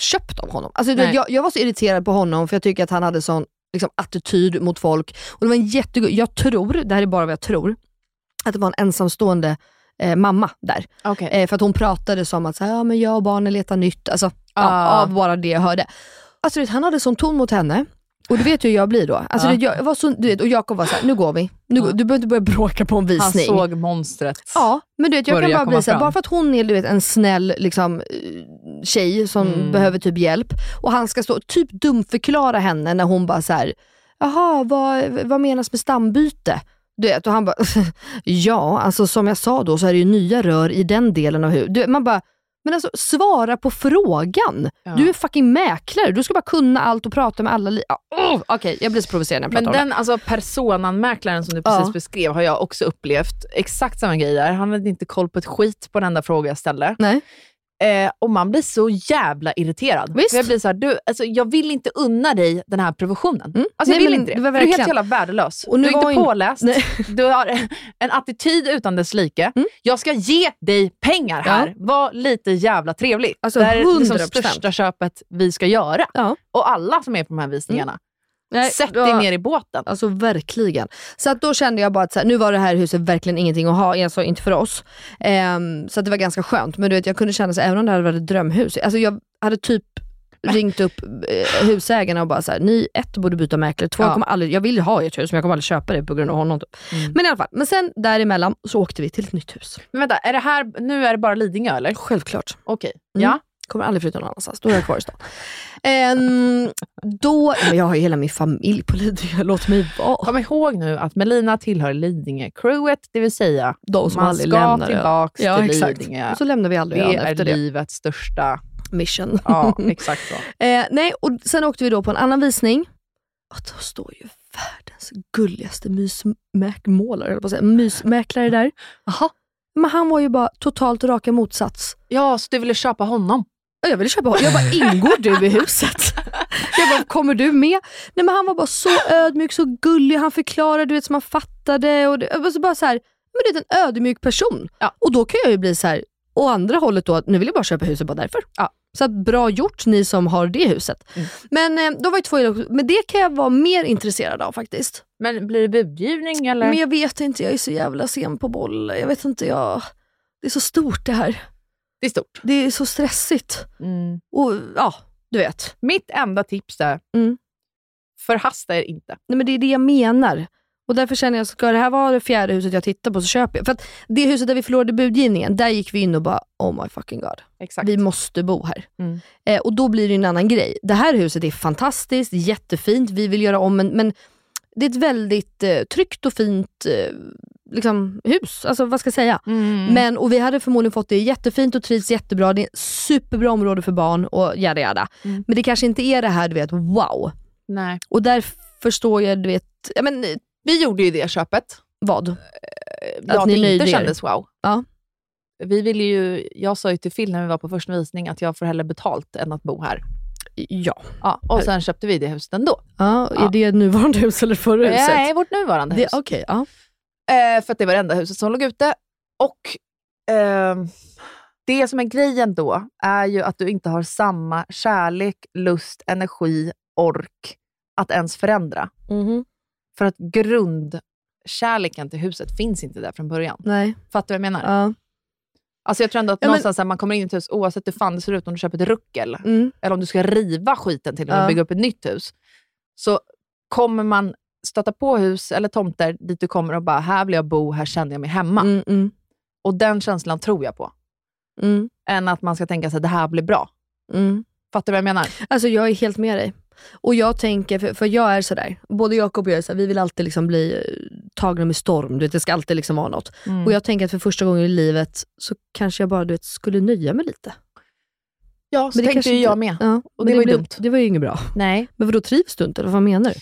köpt av honom. Alltså, du vet, Nej. jag, jag var så irriterad på honom för jag tycker att han hade sån liksom, attityd mot folk. Och det var en jättegod, jag tror, det här är bara vad jag tror, att det var en ensamstående eh, mamma där. Okej. Eh, för att hon pratade som att så här, ja, men jag och barnen letar nytt. Alltså, ja, Ah. av bara det jag hörde. Alltså, du vet, han hade sån ton mot henne. Och du vet ju hur jag blir då. Alltså, Ja. du vet, jag var så, du vet, och Jakob var såhär, nu går vi. Nu, går- Du behöver inte börja bråka på en Han visning. såg monstret. Ja, men du vet, jag kan Börja bara bli komma såhär, fram. bara för att hon är du vet, en snäll liksom, eh, tjej som Mm. behöver typ hjälp och han ska stå och typ dumförklara henne när hon bara såhär, jaha vad, vad menas med stambyte? Du vet, och han bara, ja alltså som jag sa då så är det ju nya rör i den delen av huset. Du vet, Man bara, men alltså svara på frågan. Du är fucking mäklare, du ska bara kunna allt och prata med alla. Li- ja, oh, Okej, jag blir så provocerad när jag Men pratar om den alltså, personanmäklaren som du precis Ja. beskrev har jag också upplevt exakt samma grej där. Han hade inte koll på ett skit på den enda fråga jag ställde. det. Nej. Eh, och man blir så jävla irriterad. Visst. För Jag blir så här, du, alltså, jag vill inte unna dig den här provisionen. Alltså, Mm. Nej, jag vill men inte det. det var För du är helt verkligen- jävla värdelös. Och nu du är var inte ju- påläst. Nej. Mm. Du har en attityd utan dess like. Jag ska ge dig pengar här. Ja. Var lite jävla trevlig. Alltså, det här är liksom 100%. största köpet vi ska göra. Ja. Mm. Och alla som är på de här visningarna. Nej, Sätt det dig var- ner i båten. Alltså verkligen. Så att då kände jag bara att så här, nu var det här huset verkligen ingenting att ha, alltså inte för oss. Ehm, så att det var ganska skönt. Men du vet, jag kunde känna så här, även om det hade varit ett drömhus, alltså jag hade typ ringt upp eh, husägarna och bara så här, ni ett borde byta mäklare, två, Ja. jag, kommer aldrig, jag vill ju ha ert hus men jag kommer aldrig köpa det på grund av honom. Typ. Men i alla fall, men sen däremellan så åkte vi till ett nytt hus. Men vänta, är det här, nu är det bara Lidingö eller? Självklart. Okej. Mm. Ja. Kommer aldrig flytta någon annanstans, då är jag kvar i stan. Ehm, då, men jag har ju hela min familj på Lidingö, låt mig vara. Kom ihåg nu att Melina tillhör Lidingö-crewet, det vill säga De som man aldrig ska lämnar ön. tillbaka Ja, till exakt. Lidingö. Och så lämnar vi aldrig Det ön är efter det. livets största... Mission. Ja, exakt så. Eh, nej, och sen åkte vi då på en annan visning. Och då står ju världens gulligaste mysmäkmålare, eller på att säga, mysmäklare där. Aha. Men han var ju bara totalt raka motsats. Ja, så du ville köpa honom? Och Jag ville köpa honom. Jag bara, ingår du i huset? Jag bara, kommer du med? Nej men han var bara så ödmjuk, så gullig. Han förklarade, du vet, som han fattade. Och det, jag var så bara så här, men det är en ödmjuk person. Ja. Och då kan jag ju bli så här, å andra hållet då, att nu vill jag bara köpa huset bara därför. Ja. Mm. Så att, bra gjort ni som har det huset. Men eh, då var ju två idéer. Men det kan jag vara mer intresserad av faktiskt. Men blir det budgivning eller? Men jag vet inte, jag är så jävla sen på boll. Jag vet inte, jag... Det är så stort det här. Det är stort. Det är så stressigt. Mm. Och ja, du vet. Mitt enda tips är, Mm. förhasta er inte. Nej, men det är det jag menar. Och därför känner jag, ska det här vara det fjärde huset jag tittar på så köper jag. För att det huset där vi förlorade budgivningen, där gick vi in och bara oh my fucking god. Exakt. Vi måste bo här. Mm. Eh, och då blir det ju en annan grej. Det här huset är fantastiskt, jättefint, vi vill göra om men, men det är ett väldigt eh, tryggt och fint eh, liksom, hus. Alltså vad ska jag säga? Mm. Men, och vi hade förmodligen fått det jättefint och trivs jättebra. Det är ett superbra område för barn och jada jada. Mm. Men det kanske inte är det här du vet, wow. Nej. Och där förstår jag, du vet, ja, men, eh, Vi gjorde ju det köpet. vad? Ja, Att att ni det nöjde inte er. kändes wow. Ja. Vi ville ju, jag sa ju till Phil när vi var på första visning att jag får hellre betalt än att bo här. Ja. ja och sen köpte vi det huset ändå. Ja, är det nuvarande hus eller förra huset? Nej, vårt nuvarande Det- hus. Okej, ja. Eh, för att det var det enda huset som låg ute. Och ehm, det som är grejen då är ju att du inte har samma kärlek, lust, energi, ork att ens förändra. För att grundkärleken till huset finns inte där från början. Nej. Fattar du vad jag menar? Ja. Alltså jag tror ändå att Ja, men- någonstans så här, man kommer in i ett hus, oavsett hur fan det ser ut, om du köper ett ruckel, Mm. eller om du ska riva skiten till och med Ja. och bygga upp ett nytt hus, så kommer man stöta på hus eller tomter dit du kommer och bara, här vill jag bo, här känner jag mig hemma. mm, Och den känslan tror jag på. mm, Än att man ska tänka sig, det här blir bra. Fattar du vad jag menar? Alltså jag är helt med dig. Och jag tänker, för, för jag är sådär, både Jakob och jag är sådär, vi vill alltid liksom bli eh, tagna med storm. Du vet, det ska alltid liksom vara något. Mm. Och jag tänker att för första gången i livet så kanske jag bara du vet, skulle nöja mig lite. Ja, så Men tänkte det kanske ju inte- jag med. Ja, och men det, var ju blev- dumt. Det var ju inget bra. Nej. Men vadå, trivs du inte? eller Vad menar du?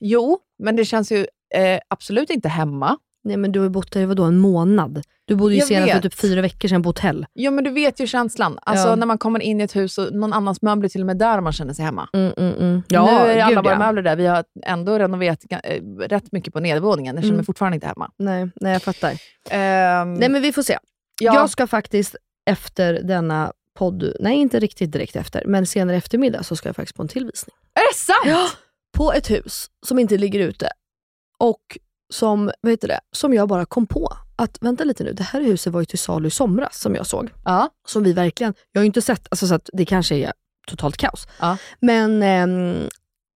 Jo, men det känns ju eh, absolut inte hemma. Nej men du har ju bott där i vadå, en månad? Du bodde ju Jag senast för vet. typ fyra veckor sedan på hotell. Jo, men du vet ju känslan. Alltså Ja. när man kommer in i ett hus och någon annans möbler är till och med där och man känner sig hemma. Ja, Mm, nu är alla gud, våra ja. möbler där. Vi har ändå renoverat ga- eh, rätt mycket på nedervåningen. Jag känner mig Mm. fortfarande inte hemma. Nej, nej jag fattar. Ehm, Nej men vi får se. Ja. Jag ska faktiskt efter denna podd, nej inte riktigt direkt efter, men senare eftermiddag så ska jag faktiskt på en tillvisning. Är det sant? Ja, på ett hus som inte ligger ute och som, vad heter det, som jag bara kom på att vänta lite nu, det här huset var ju till salu i somras som jag såg. Ja. Som vi verkligen, jag har ju inte sett, alltså, så att det kanske är totalt kaos. Men, ehm,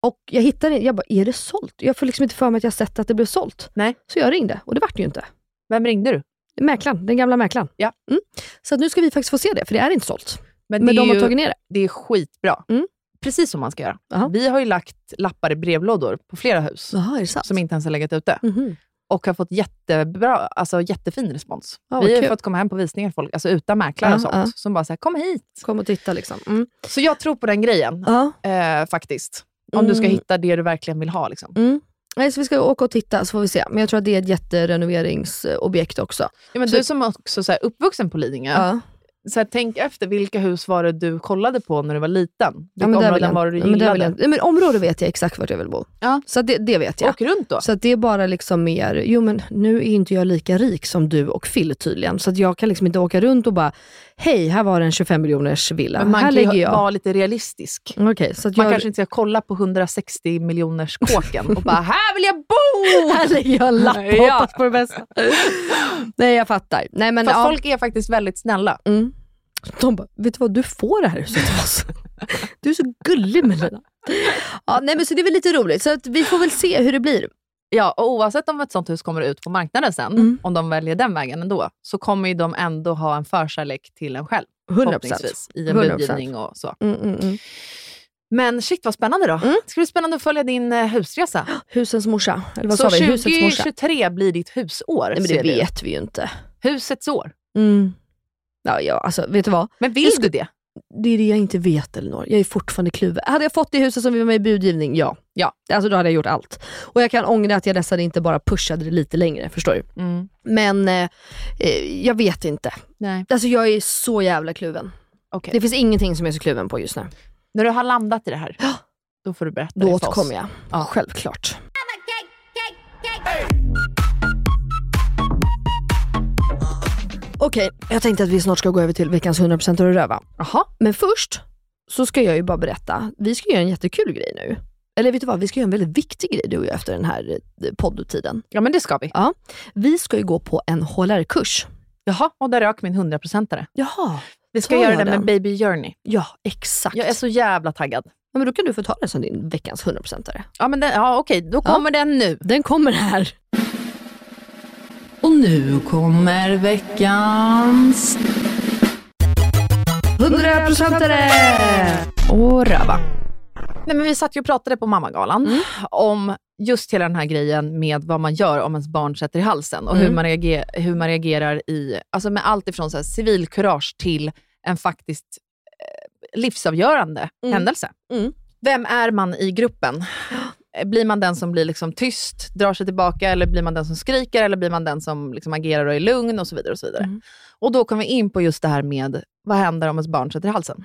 och jag hittade jag bara, är det sålt? Jag får liksom inte för mig att jag sett att det blev sålt. Nej. Så jag ringde och det vart det ju inte. Vem ringde du? Mäklaren, den gamla mäklaren. Ja. Mm. Så att nu ska vi faktiskt få se det, för det är inte sålt. Men, det är de har ju- tagit ner det. Det är skitbra. Mm. Precis som man ska göra. Vi har ju lagt lappar i brevlådor på flera hus som inte ens har legat ute. Mhm. Och har fått jättebra, alltså jättefin respons. Ja, vad vi har ju kul. fått komma hem på visningar folk, alltså utan mäklare Ja, och sånt. ja. Som bara säger kom hit. Kom och titta liksom. Så jag tror på den grejen, eh, faktiskt. Om du ska Mm. hitta det du verkligen vill ha. Liksom. Mm. Nej, så vi ska åka och titta så får vi se. Men jag tror att det är ett jätterenoveringsobjekt också. Ja, men Så- du som också så här, uppvuxen på Lidingö, så här, tänk efter vilka hus var det du kollade på när du var liten? Vilka Ja, men där vill områden jag- var det du ja, men där gillade? vill jag- Nej, men område vet jag exakt vart jag vill bo. Så att det, det vet jag. Åk runt då. Så att det är bara liksom mer, jo men nu är inte jag lika rik som du och Phil tydligen, så att jag kan liksom inte åka runt och bara, hej här var en 25 miljoners villa, men man här kan lägger ju jag. vara lite realistisk. Okej, så att man jag- kanske inte ska kolla på 160 miljoners kåken och bara “här vill jag bo!” Här lägger jag en lapp och Ja. hoppas på det bästa. Nej jag fattar. Nej, men, Fast ja. folk är faktiskt väldigt snälla. Mm. De bara, vet du vad, du får det här huset av oss. Du är så gullig Melina. Ja, nej, men så det är väl lite roligt, så att vi får väl se hur det blir. Ja, och oavsett om ett sånt hus kommer ut på marknaden sen, Mm. om de väljer den vägen ändå, så kommer ju de ändå ha en förkärlek till en själv. 100%. förhoppningsvis, I en 100%. budgivning och så. Mm, mm, mm. Men shit vad spännande då. Det ska bli spännande att följa din eh, husresa. Husens morsa, eller vad så sa vi? Husets morsa. 2023 blir ditt husår. Nej, men ser det du. vet vi ju inte. Husets år. Mm. Ja, ja, alltså vet du vad? Men vill Jag du skulle- det? Det är det jag inte vet Elinor. Jag är fortfarande kluven. Hade jag fått det huset som vi var med i budgivning, ja. ja. Alltså då hade jag gjort allt. Och jag kan ångra att jag nästan inte bara pushade det lite längre, förstår du? Mm. Men eh, eh, jag vet inte. Nej. Alltså jag är så jävla kluven. Okej. Det finns ingenting som jag är så kluven på just nu. När du har landat i det här, då får du berätta Då det för oss. återkommer jag. Självklart. Okej, jag tänkte att vi snart ska gå över till veckans 100% och röva. Aha. Men först så ska jag ju bara berätta, vi ska göra en jättekul grej nu. Eller vet du vad, vi ska göra en väldigt viktig grej du och jag efter den här eh, poddtiden. Ja, men det ska vi. Ja. Vi ska ju gå på en HLR-kurs. Jaha, och där rök min 100-procentare. Jaha. Vi ska tar göra jag det med den? Baby Journey. Ja, exakt. Jag är så jävla taggad. Ja, men då kan du få ta den som din veckans 100%are. Ja, men den, ja okej, då kommer den nu. Den kommer här. Och nu kommer veckans... 100%are! Och röva. Nej, men vi satt ju och pratade på mammagalan Mm. om just hela den här grejen med vad man gör om ens barn sätter i halsen och hur, Mm. man reagerar, hur man reagerar i, alltså med allt ifrån så här civilkurage till en faktiskt eh, livsavgörande Mm. händelse. Mm. Vem är man i gruppen? Eh, Blir man den som blir liksom tyst, drar sig tillbaka, eller blir man den som skriker, eller blir man den som liksom agerar och är Mm. lugn och så vidare. Och, så vidare. och då kom vi in på just det här med, vad händer om ens barn sätter i halsen?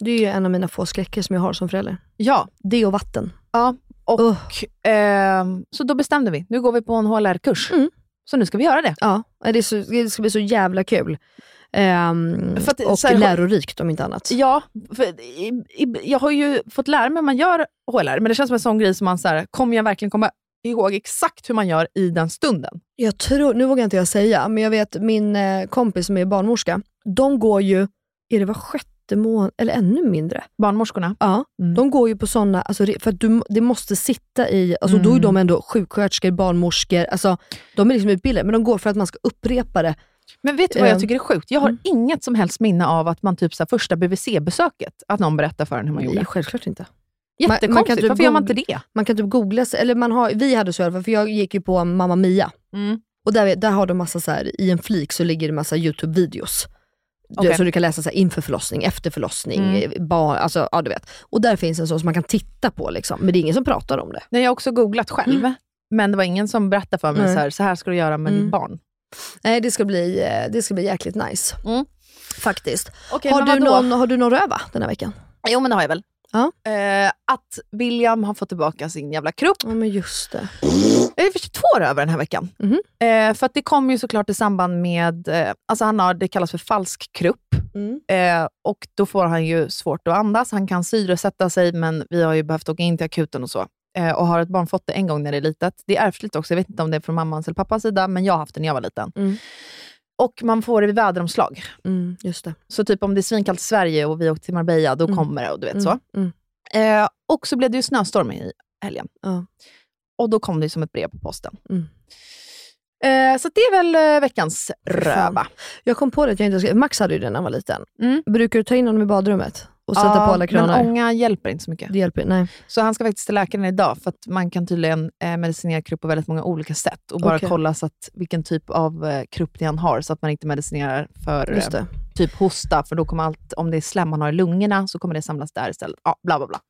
Det är ju en av mina få skräcker som jag har som förälder. Ja. Det och vatten. Ja, och ehm, så då bestämde vi. Nu går vi på en HLR-kurs. Så nu ska vi göra det. Ja, det, är så, det ska bli så jävla kul. Ehm, För att- och så här- lärorikt om inte annat. Ja, för, i, i, jag har ju fått lära mig hur man gör HLR, men det känns som en sån grej som man så här, kommer jag verkligen komma ihåg exakt hur man gör i den stunden? Jag tror, nu vågar inte jag säga, men jag vet min eh, kompis som är barnmorska, de går ju, är det var sjätte månad, eller ännu mindre. Barnmorskorna? Ja, de går ju på sådana, alltså, re- för att du, det måste sitta i, alltså, då är Mm. de ändå sjuksköterskor, barnmorskor, alltså, de är liksom utbildade, men de går för att man ska upprepa det. Men vet du vad Eh, jag tycker är sjukt? Jag har inget som helst minne av att man typ så här, första BVC-besöket, att någon berättar för en hur man Nej, gjorde. självklart inte. Jättekonstigt, typ varför gör man inte googla- det? Man kan typ googla, sig- eller man har, vi hade så i alla fall, för jag gick ju på Mamma Mia. Mm. Och där, där har de massa så här, i en flik så ligger det massa YouTube-videos. Du- Okej. Så du kan läsa så här, inför förlossning, efter förlossning, Mm. eh, barn, alltså, ja du vet. Och där finns en sån som man kan titta på liksom, men det är ingen som pratar om det. Nej, jag har också googlat själv, men det var ingen som berättade för mig Nej. så, här, så här ska du göra med Mm. ditt barn. Nej, det ska bli, eh, det ska bli jäkligt nice. Faktiskt. Mm. Okej, har, men du vadå? någon, har du någon röva den här veckan? Jo, men det har jag väl. Ja. Eh, att William har fått tillbaka sin jävla kropp. Ja, men just det. Jag är i och för sig två rövar den här veckan. Mhm. Eh, för att det kom ju såklart i samband med, eh, alltså han har det kallas för falsk krupp. Mm. Eh, och då får han ju svårt att andas. Han kan syresätta sig, men vi har ju behövt åka in till akuten och så. Eh, och har ett barn fått det en gång när det är litet. Det är ärftligt också, jag vet inte om det är från mammans eller pappans sida, men jag har haft det när jag var liten. Och man får det vid väderomslag. Mm, just det. Så typ om det är svinkallt i Sverige och vi åkte till Marbella, då kommer det och du vet så. Mm. Eh, och så blev det ju snöstorm i helgen. Ja. Och då kom det ju som ett brev på posten. Mm. Eh, så det är väl eh, veckans röva. Jag kom på det att jag inte ska, Max hade ju den när han var liten. Brukar du ta in honom i badrummet och sätta Mm. Ja, på alla kranar? Men ånga hjälper inte så mycket. Det hjälper nej. Så han ska faktiskt till läkaren idag, för att man kan tydligen eh, medicinera krupp på väldigt många olika sätt. Och bara Okej. kolla så att, vilken typ av eh, krupp han har, så att man inte medicinerar för Just det. eh, typ hosta, för då kommer allt, om det är slem han har i lungorna, så kommer det samlas där istället. Ja, bla bla bla.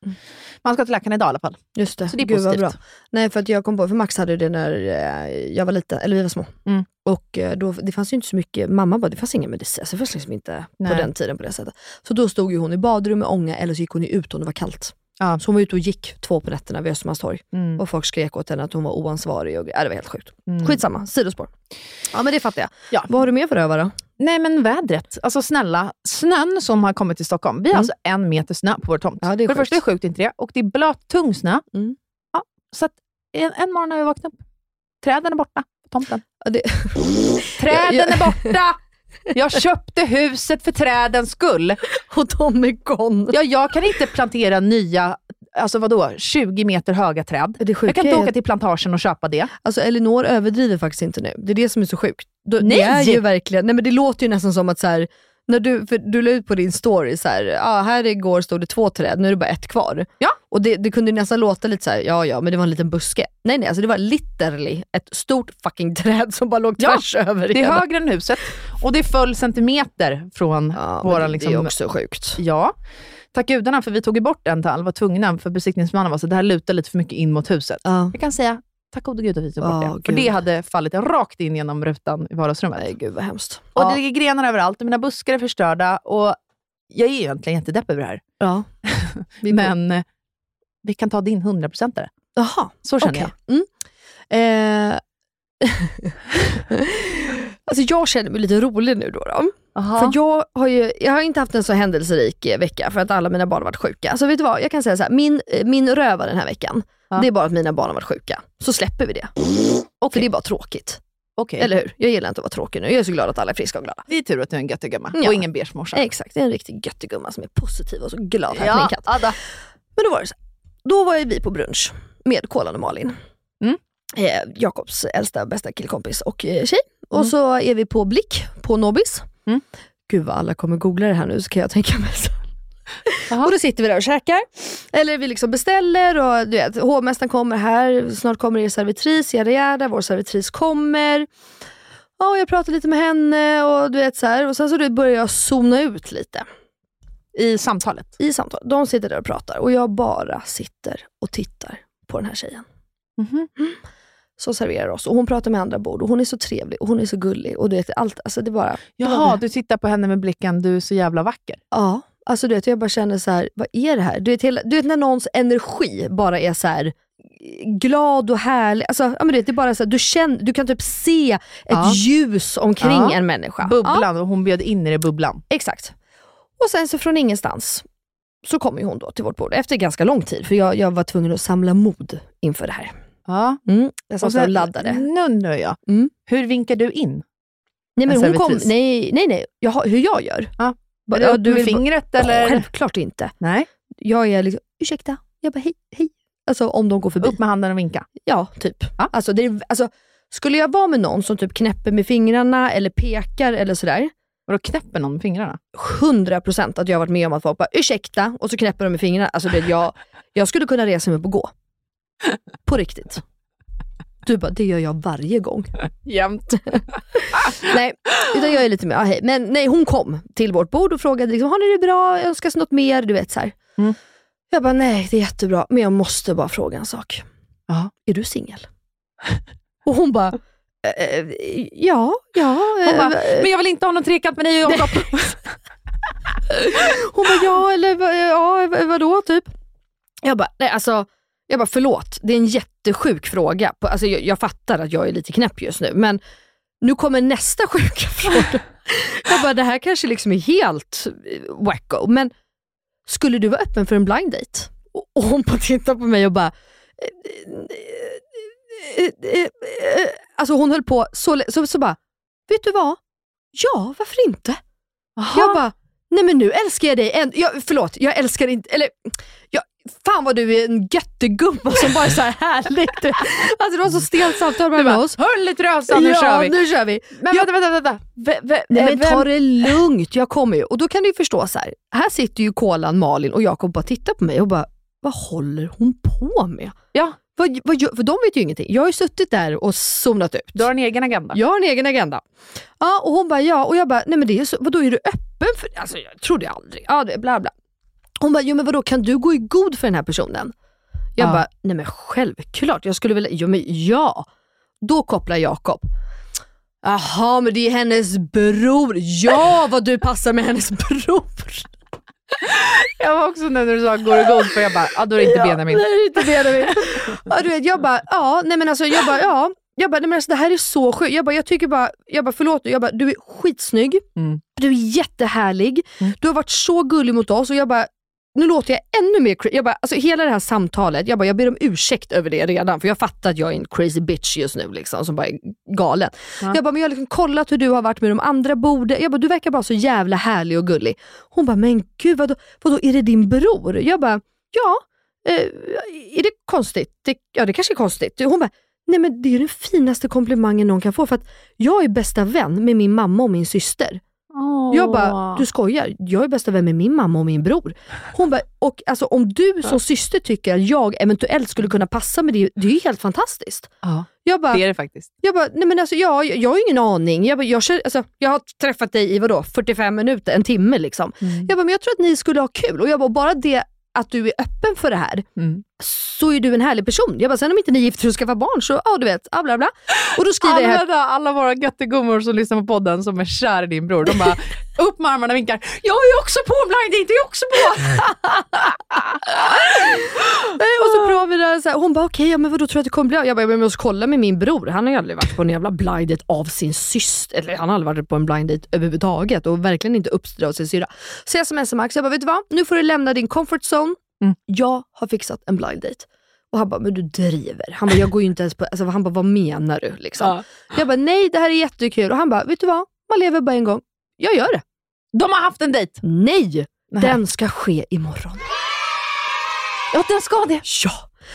Man ska till läkaren idag i alla fall. Just det. Så det är Mm. Gud, vad positivt. bra. Nej, för att jag kom på, för Max hade ju det när eh, jag var liten, eller vi var små. Mm. Och eh, då, det fanns ju inte så mycket, mamma bara, det fanns ingen medicin, så det fanns liksom inte Nej. på den tiden på det sättet. Så då stod ju hon i badrum med ånga, eller så gick hon ju ut om det var kallt. Ja. Så hon var ute och gick två på nätterna vid Östermalmstorg. Mm. Och folk skrek åt henne att hon var oansvarig och ja, det var helt sjukt. Mm. Skitsamma, sidospår. Ja men det fattar jag. Ja. Vad har du mer för röva då? Nej men vädret, alltså snälla, snön som har kommit till Stockholm. Vi har alltså en meter snö på vår tomt. Mm. det är för det sjukt. första är sjukt inte det, och det är blöt, tung snö. Mm. Ja, så att en, en morgon när vi vaknade upp, träden är borta på tomten. Träden är borta! Jag köpte huset för trädens skull. Och de är gone. Ja, jag kan inte plantera nya, alltså vadå, 20 meter höga träd. Det jag sjuka kan inte är åka att- till plantagen och köpa det. Alltså Elinor överdriver faktiskt inte nu. Det är det som är så sjukt. Då- Nej! Det är ju verkligen, nej men det låter ju nästan som att så här, när du, för du la ut på din story så här, ah, här igår stod det två träd, nu är det bara ett kvar. Ja. Och det, det kunde ju nästan låta lite så här, ja ja men det var en liten buske. Nej nej, alltså det var literally ett stort fucking träd som bara låg tvärs över det är hela. högre än huset och det föll centimeter från Ja, men våran... det, liksom, det är också sjukt. Ja. Tack gudarna, för vi tog ju bort en tall, var tvungna, för besiktningsmannen var så det här lutar lite för mycket in mot huset. Ja. Jag kan säga, tack gode gud att vi tog bort Ja, det. För gud. det hade fallit rakt in genom rutan i vardagsrummet. Nej gud vad hemskt. Och ja. det ligger grenar överallt och mina buskar är förstörda. Och jag är ju egentligen jättedeppig över det här. Ja. Vi- Men eh, vi kan ta din hundraprocentare. Jaha, Så känner okej. Mm. Eh, alltså jag känner mig lite rolig nu då. då. För jag har ju jag har inte haft en så händelserik eh, vecka för att alla mina barn har varit sjuka. Så vet du vad, jag kan säga så här, min, eh, min röva den här veckan, det är bara att mina barn har varit sjuka. Så släpper vi det. För det är bara tråkigt. Okej. Eller hur? Jag gillar inte att vara tråkig nu. Jag är så glad att alla är friska och glada. Det är tur att du är en göttegumma Ja. och ingen beige morsa. Exakt, det är en riktig göttegumma som är positiv och så glad här på min Ja, katt. Ada. Men då var det så här. Då var ju vi på brunch med Kolan och Malin. Mm. Eh, Jakobs äldsta och bästa killkompis och eh, tjej. Och så är vi på Blick på Nobis. Mm. Gud vad alla kommer googla det här nu så kan jag tänka mig. Så. Och då sitter vi där och käkar. Eller vi liksom beställer och du vet, hovmästaren kommer här, snart kommer er servitris, jada jada, vår servitris kommer. Ja, och jag pratar lite med henne och du vet så här. Och sen så börjar jag zona ut lite I samtalet. i samtal. De sitter där och pratar och jag bara sitter och tittar på den här tjejen Mhm. som serverar oss. Och Hon pratar med andra bord och hon är så trevlig och hon är så gullig. Och du vet, allt, alltså det bara... Jaha, du tittar på henne med blicken, du är så jävla vacker. Ja, Alltså du vet, jag bara känner så här, vad är det här? Du vet, hela, du vet när någons energi bara är så här glad och härlig. Alltså, ja, men du vet, det är bara så här, du, känner, du kan typ se ett Ja. ljus omkring Ja. en människa. Bubblan, och hon bjöd in er i bubblan. Exakt. Och sen så från ingenstans så kommer ju hon då till vårt bord efter ganska lång tid, för jag, jag var tvungen att samla mod inför det här. Ja. Mm, jag satt och, och laddade. Mm. Mm. Nu undrar jag, hur vinkar du in? Nej, men En hon kom, servitris. nej, nej, nej. Jag, har- hur jag gör? Ja. Bara, Är det ja, upp vill med bara- fingret, Ja, eller? Självklart inte. Nej. Jag är liksom, ursäkta, jag bara hej, hej. Alltså om de går förbi. Upp med handen och vinka? Ja, typ. Alltså, det är, alltså, skulle jag vara med någon som typ knäpper med fingrarna eller pekar eller sådär. Vadå knäpper någon med fingrarna? 100% att jag har varit med om att folk bara ursäkta och så knäpper de med fingrarna. Alltså, det, jag, jag skulle kunna resa mig upp och gå. På riktigt. Du bara, det gör jag varje gång. Jämt. nej, utan jag är lite mer, ah, hej. Men nej, hon kom till vårt bord och frågade, liksom, har ni det bra? Önskas något mer? Du vet så här. Mm. Jag bara, nej det är jättebra, men jag måste bara fråga en sak. Är du singel? Och hon bara, eh, eh, ja, ja. eh, Hon bara, men jag vill inte ha någon trekant med dig och Jakob. hon bara, ja eller va- ja, va- vadå typ? Jag bara, nej alltså, jag bara förlåt, det är en jättesjuk fråga. På- Alltså, jag, jag fattar att jag är lite knäpp just nu, men nu kommer nästa sjuka fråga. jag bara, det här kanske liksom är helt eh, wacko, men skulle du vara öppen för en blind date? Och- Och hon bara tittar på mig och bara, eh, alltså hon höll på så, lä- så, så bara, vet du vad? Ja, varför inte? Jag bara, nej men nu älskar jag dig än. Jag, förlåt, jag älskar inte, eller jag, fan vad du är en göttegumma som bara är så här härligt. Alltså det var så stelt samtal med oss. Håll i trösan, nu ja, kör vi. nu kör vi. Men vänta, vänta, vänta. Ve- ve- Nej, men vem- ta det lugnt, jag kommer ju. Och då kan du ju förstå så här. här sitter ju kolan Malin och Jakob bara tittar på mig och bara, vad håller hon på med? Ja. Vad, vad, gör- för de vet ju ingenting. Jag har ju suttit där och zonat ut. Du har en egen agenda. Jag har en egen agenda. Ja, och hon bara ja, och jag bara, nej men det är så, vadå är du öppen för det? Alltså jag trodde aldrig, ja det, bla bla. Hon bara, jo men vadå kan du gå i god för den här personen? Jag Ja. bara, nej men självklart, jag skulle vilja, jo men ja. Då kopplar Jakob. Jaha, men det är hennes bror. Ja, vad du passar med hennes bror. Jag var också när du sa går det god för jag bara, ah, då är det inte Ja, Benjamin. det är inte Benjamin. Ja, du vet, jag bara, ja, nej men alltså jag bara, ja. Jag bara, nej men alltså det här är så sjukt. Jag bara, jag tycker bara, jag bara förlåt nu. jag bara, du är skitsnygg. Du är jättehärlig. Du har varit så gullig mot oss och jag bara, nu låter jag ännu mer cra- jag bara, alltså Hela det här samtalet, jag, bara, jag ber om ursäkt över det redan, för jag fattar att jag är en crazy bitch just nu, liksom, som bara är galen. Ja. Jag bara, men jag har liksom kollat hur du har varit med de andra borden. Jag bara, du verkar bara så jävla härlig och gullig. Hon bara, men gud, vadå, vadå är det din bror? Jag bara, ja. Eh, är det konstigt? Det, ja, det kanske är konstigt. Hon bara, nej men det är ju den finaste komplimangen någon kan få, för att jag är bästa vän med min mamma och min syster. Jag bara, du skojar. Jag är bästa vän med min mamma och min bror. Hon bara, och alltså, om du som syster tycker att jag eventuellt skulle kunna passa med det, det är ju helt fantastiskt. Ja. Jag bara, Det är det faktiskt. Jag bara, nej men alltså, ja, jag, jag har ingen aning. Jag, bara, jag, känner, alltså, jag har träffat dig i vadå, 45 minuter, en timme liksom. Jag bara, men jag tror att ni skulle ha kul. Och jag bara, bara det att du är öppen för det här, så är du en härlig person. Jag bara, sen om inte ni gifter er och skaffar barn så, ja du vet, ah, bla bla. Och då skriver jag här, Använda alla våra göttegummor som lyssnar på podden som är kär i din bror. De bara upp med armarna och vinkar. Jag är också på en blind date, jag är också på! Nej, Eh, och så provar vi det här, så här. Hon bara, okej, ja, men vadå tror du att det kommer bli av? Jag bara, "Ja, men jag måste kolla med min bror. Han har ju aldrig varit på en jävla blind date av sin syster. Eller han har aldrig varit på en blind date överhuvudtaget och verkligen inte uppstyrd av sin syrra. Så jag smsar Max, jag bara, vet du vad? Nu får du lämna din comfort zone. Mm. Jag har fixat en blind date. Och han bara, men du driver. Han bara, jag går ju inte ens på... Alltså, han bara, vad menar du? Liksom. Jag bara, nej det här är jättekul. Och han bara, vet du vad? Man lever bara en gång. Jag gör det. De har haft en dejt? Nej, den ska ske imorgon. Ja, den ska det. Ja.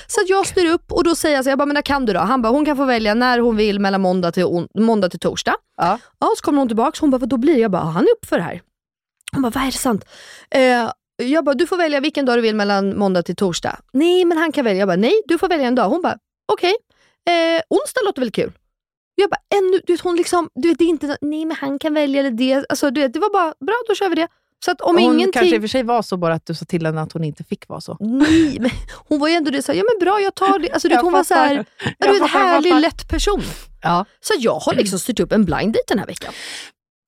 Så att jag styr upp och då säger jag så här, jag bara, men när kan du då? Han bara, hon kan få välja när hon vill mellan måndag till, on- måndag till torsdag. Ja. ja. Så kommer hon tillbaka, hon bara, vad då blir det? Jag bara, "Ja, han är upp för det här. Hon bara, vad är det sant? Eh, jag bara, du får välja vilken dag du vill mellan måndag till torsdag. Nej, men han kan välja. Jag bara, nej, du får välja en dag. Hon bara, okej. Eh, onsdag låter väl kul? Jag bara, ännu, du vet, hon liksom, du vet, det är inte, nej men han kan välja eller det. Alltså, du vet, det var bara, bra då kör vi det. Så att om hon ingenting... kanske i och för sig var så bara att du sa till henne att hon inte fick vara så. Nej, men hon var ju ändå det, så här, ja men bra jag tar det. Alltså, du vet, Jag hon var så här, fattar. ja, Jag du vet, fattar, jag härlig, fattar. lätt person. Ja. Så jag har liksom styrt upp en blind date den här veckan.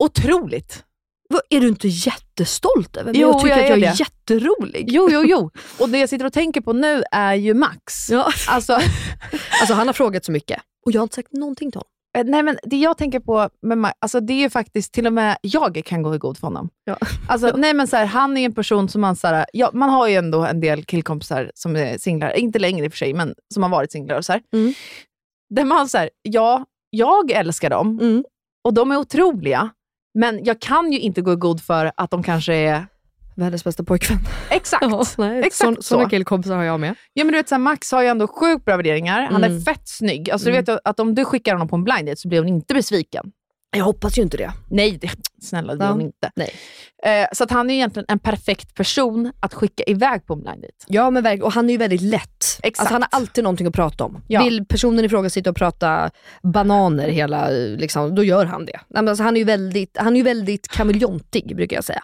Otroligt. Vad, är du inte jättestolt över mig? Jo, jag tycker jag att är jag är det. jätterolig. Jo, jo, jo. Och det jag sitter och tänker på nu är ju Max. Ja. Alltså, alltså han har frågat så mycket och jag har inte sagt någonting till honom. Eh, Nej, men det jag tänker på med Max, alltså det är ju faktiskt till och med jag kan gå i god för honom. Alltså, nej, men så här, han är en person som man... Så här, ja, man har ju ändå en del killkompisar som är singlar, inte längre i och för sig, men som har varit singlar. Och så här. Där man så här, ja, jag älskar dem Mm. och de är otroliga, men jag kan ju inte gå i god för att de kanske är... Världens bästa pojkvän. Exakt. Exakt Sån- så. Såna killkompisar har jag med. Ja, men du vet, så här, Max har ju ändå sjukt bra värderingar. Han är Mm. fett snygg. Alltså, Mm. Du vet att om du skickar honom på en blind date så blir hon inte besviken. Jag hoppas ju inte det. Nej, det, snälla det blir Ja. hon inte. Eh, så att han är ju egentligen en perfekt person att skicka iväg på en blind date. Ja, men verkligen. Och han är ju väldigt lätt. Exakt. Alltså, han har alltid någonting att prata om. Ja. Vill personen i fråga sitta och prata bananer hela, liksom, då gör han det. Nej, men Alltså, han är ju väldigt, han är ju väldigt kameleontig brukar jag säga.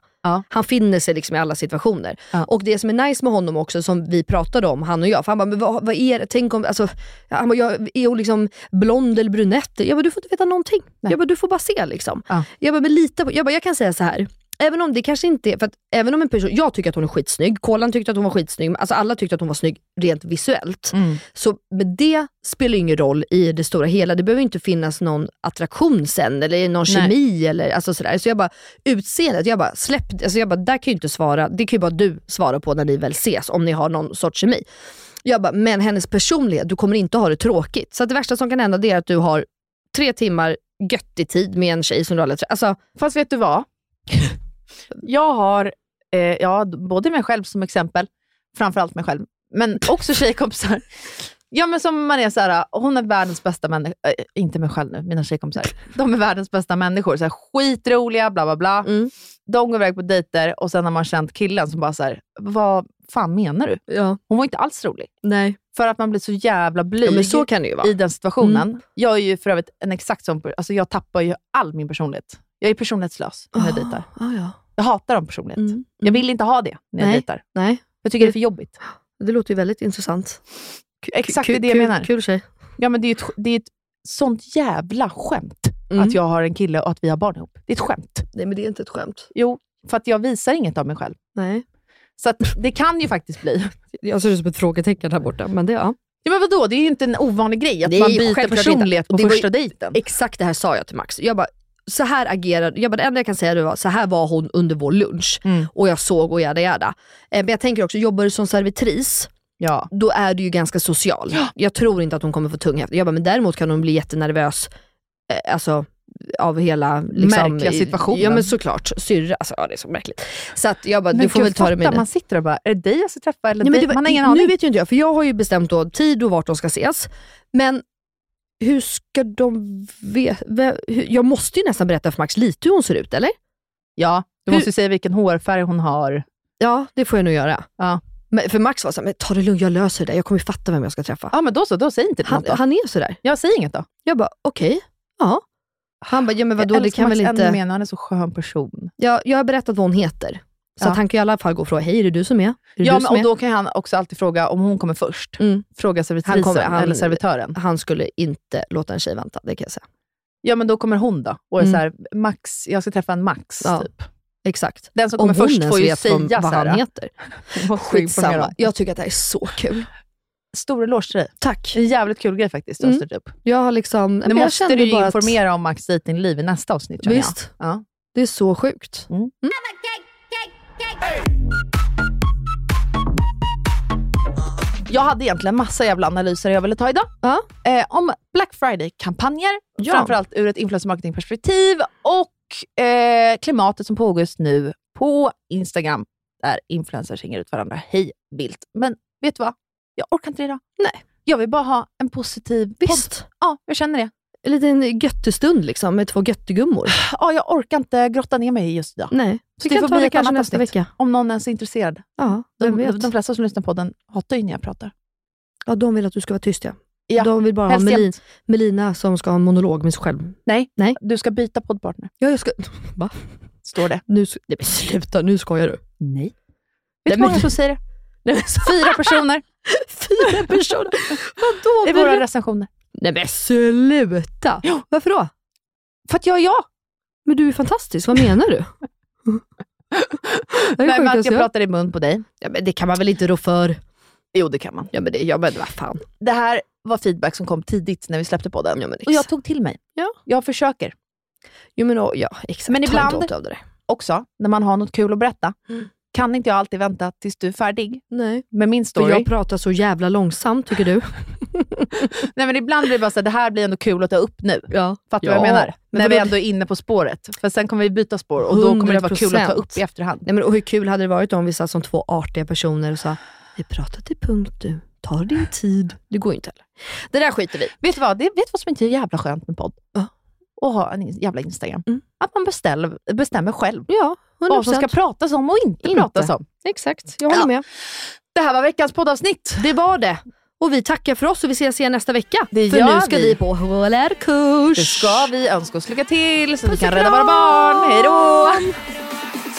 Han finner sig liksom i alla situationer. Och det som är nice med honom också, som vi pratade om, han och jag, för han bara, men vad, vad är det? Tänk om, alltså, han bara, jag, är hon liksom blond eller brunett? Jag bara, du får inte veta någonting. Jag bara, du får bara se liksom. Jag bara, men lita på, jag bara, jag kan säga så här. Även om det kanske inte är, för att även om en person, jag tycker att hon är skitsnygg, Kolan tyckte att hon var skitsnygg, alltså alla tyckte att hon var snygg rent visuellt. Så men det spelar ju ingen roll i det stora hela. Det behöver ju inte finnas någon attraktion sen eller någon Nej. kemi eller alltså sådär. Så jag bara, utseendet, jag bara släpp alltså jag bara, där kan ju inte svara, det kan ju bara du svara på när ni väl ses om ni har någon sorts kemi. Jag bara, men hennes personlighet, du kommer inte ha det tråkigt. Så att det värsta som kan hända det är att du har tre timmar göttig tid med en tjej som du aldrig har trä- alltså, Fast vet du vad? jag har, eh, ja, både mig själv som exempel, framförallt mig själv, men också tjejkompisar. Ja, men som man är så här, hon är världens bästa människa. eh, inte mig själv nu, mina tjejkompisar. De är världens bästa människor. Så här, skitroliga, bla bla Alltså, bla. mm. De går iväg på dejter och sen har man känt killen som bara så här, vad fan menar du? Hon var inte alls rolig. Nej. För att man blir så jävla blyg Ja, men så kan det ju vara. i den situationen. Mm. Jag är ju för övrigt en exakt sån per- alltså jag tappar ju all min personlighet. Jag är personlighetslös när jag dejtar. ah, ja. Mm. Jag hatar om personlighet. Jag vill inte ha det när jag Nej, dejtar. Nej. Jag tycker det är för jobbigt. Det låter ju väldigt intressant. Exakt Kul- det är det jag kul- menar. Kul tjej. Ja, men det är ju ett, det är ett sånt jävla skämt Mm. att jag har en kille och att vi har barn ihop. Det är ett skämt. Nej, men det är inte ett skämt. Jo, för att jag visar inget av mig själv. Nej. Så att det kan ju faktiskt bli. Jag ser ut som ett frågetecken här borta, men det ja. Ja, men vadå? Det är ju inte en ovanlig grej att Nej, man byter självklart personlighet inte. på Det var ju- första dejten. Exakt det här sa jag till Max. Jag bara, så här agerade, jag bara, det enda jag kan säga det var, så här var hon under vår lunch. Mm. Och jag såg och jada jada. Eh, Men jag tänker också, jobbar du som servitris, ja. då är du ju ganska social. Jag tror inte att hon kommer få tunghäfta. Jag bara, men däremot kan hon bli jättenervös, eh, alltså av hela... Liksom, Märkliga situationen. Ja men såklart, syrra, alltså ja, det är så märkligt. Så att jag bara, Men du får gud, väl ta det fatta, med Man sitter och bara, är det dig jag ska träffa? Eller Nej, men dig? det var, man har ingen nu aning. vet ju inte jag, för jag har ju bestämt då tid och vart de ska ses. Men hur ska de veta? Jag måste ju nästan berätta för Max lite hur hon ser ut, eller? Ja, du måste ju säga vilken hårfärg hon har. Ja, det får jag nog göra. Ja. Men, för Max var såhär, men ta det lugnt, jag löser det. Jag kommer ju fatta vem jag ska träffa. Ja, men då så. Då säg inte han, något då. han är sådär. Jag säger inget då. Jag bara, okej. Ja. Han bara, ja men vadå, jag det älskar kan Max väl ännu inte... mer när han är så skön person. Ja, jag har berättat vad hon heter. Så Ja. att han kan ju i alla fall gå och fråga, hej är det du som är? är det Ja, du men, som och är? då kan han också alltid fråga om hon kommer först. Fråga servitrisen kommer- han- eller servitören. Han skulle inte låta en tjej vänta, det kan jag säga. Ja, men då kommer hon då och är Mm. så här, Max, jag ska träffa en Max. Ja, Typ. Exakt. Den som Om kommer hon först ens får ju vet vad- säga vad så här, "Ah, han heter. Skitsamma. imponerad. Jag tycker att det här är så kul. Stor eloge till dig. Tack. En jävligt kul grej faktiskt du har Mm. styrt upp. Jag har liksom... Nu men jag typ. måste kände du ju bara att- informera om Max dejtingliv i nästa avsnitt. känner jag. Visst. Ja. Det är så sjukt. Mm. Jag hade egentligen massa jävla analyser jag ville ta idag. Eh, om Black Friday-kampanjer, Ja. framförallt ur ett influencer marketing-perspektiv och eh, klimatet som pågår just nu på Instagram där influencers hänger ut varandra hej vilt. Men vet du vad? Jag orkar inte det idag. Nej. Jag vill bara ha en positiv Visst. podd. Ja, jag känner det. En liten göttestund liksom, med två göttegummor. Ja, jag orkar inte grotta ner mig just idag. Så Nej. Mm. Vi det kan får ta bli det ett kanske annat nästa avsnitt. vecka. Om någon ens är intresserad. Ja, vem De, vet. de flesta som lyssnar på den hatar ju när jag pratar. Ja, de vill att du ska vara tyst ja. Ja, De vill bara ha helst Melin, jämt. Melina som ska ha en monolog med sig själv. Nej, Nej. du ska byta poddpartner. Ja, jag ska... Va? Står det. Nu, nej, men sluta, nu skojar du. Nej. Nej, Vet du hur men- många som säger det? Fyra personer Fyra personer. Vadå? i Men- våra recensioner. Nej men sluta! Varför då? För att jag är jag. Men du är fantastisk, vad menar du? Det är det Nej, men att sjukaste jag- jag pratar i mun på dig. Ja, men det kan man väl inte rå för? Jo, det kan man. Ja, men det, ja, men vad fan. Det här var feedback som kom tidigt när vi släppte podden. och jag tog till mig. Ja. Jag försöker. Jo, men, och, ja, exakt. Men Ta ibland inte åt av det där. också, när man har något kul att berätta, kan inte jag alltid vänta tills du är färdig Nej. med min För story. jag pratar så jävla långsamt, tycker du? Nej, men ibland blir det bara så här, det här blir ändå kul att ta upp nu. Ja. Fattar du vad jag Ja. menar? Men när vi vadå? ändå är inne på spåret. För sen kommer vi byta spår och då kommer det vara kul att ta 100%. upp i efterhand. Nej, men, och hur kul hade det varit om vi satt som två artiga personer och sa, vi pratar till punkt du, ta din tid. Det går ju inte heller. Det där skiter vi i. Vet du vad, det, vet du vad som inte är jävla skönt med podd? Och ha en in- jävla Instagram. Att man beställ, bestämmer själv Mm. ja, vad som ska 100%. pratas om och inte, Inte. pratas om. Exakt, jag håller Ja. med. Det här var veckans poddavsnitt. Det var det. Och vi tackar för oss och vi ses igen nästa vecka. Det för gör nu ska vi. vi på HLR-kurs. Det ska vi. Önska oss lycka till så att vi Puss och kan rädda våra kram! barn. Hej då!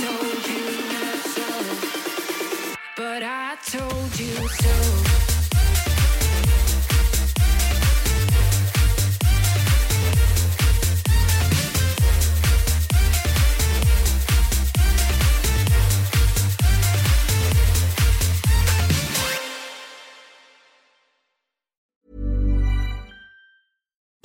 But I told you so.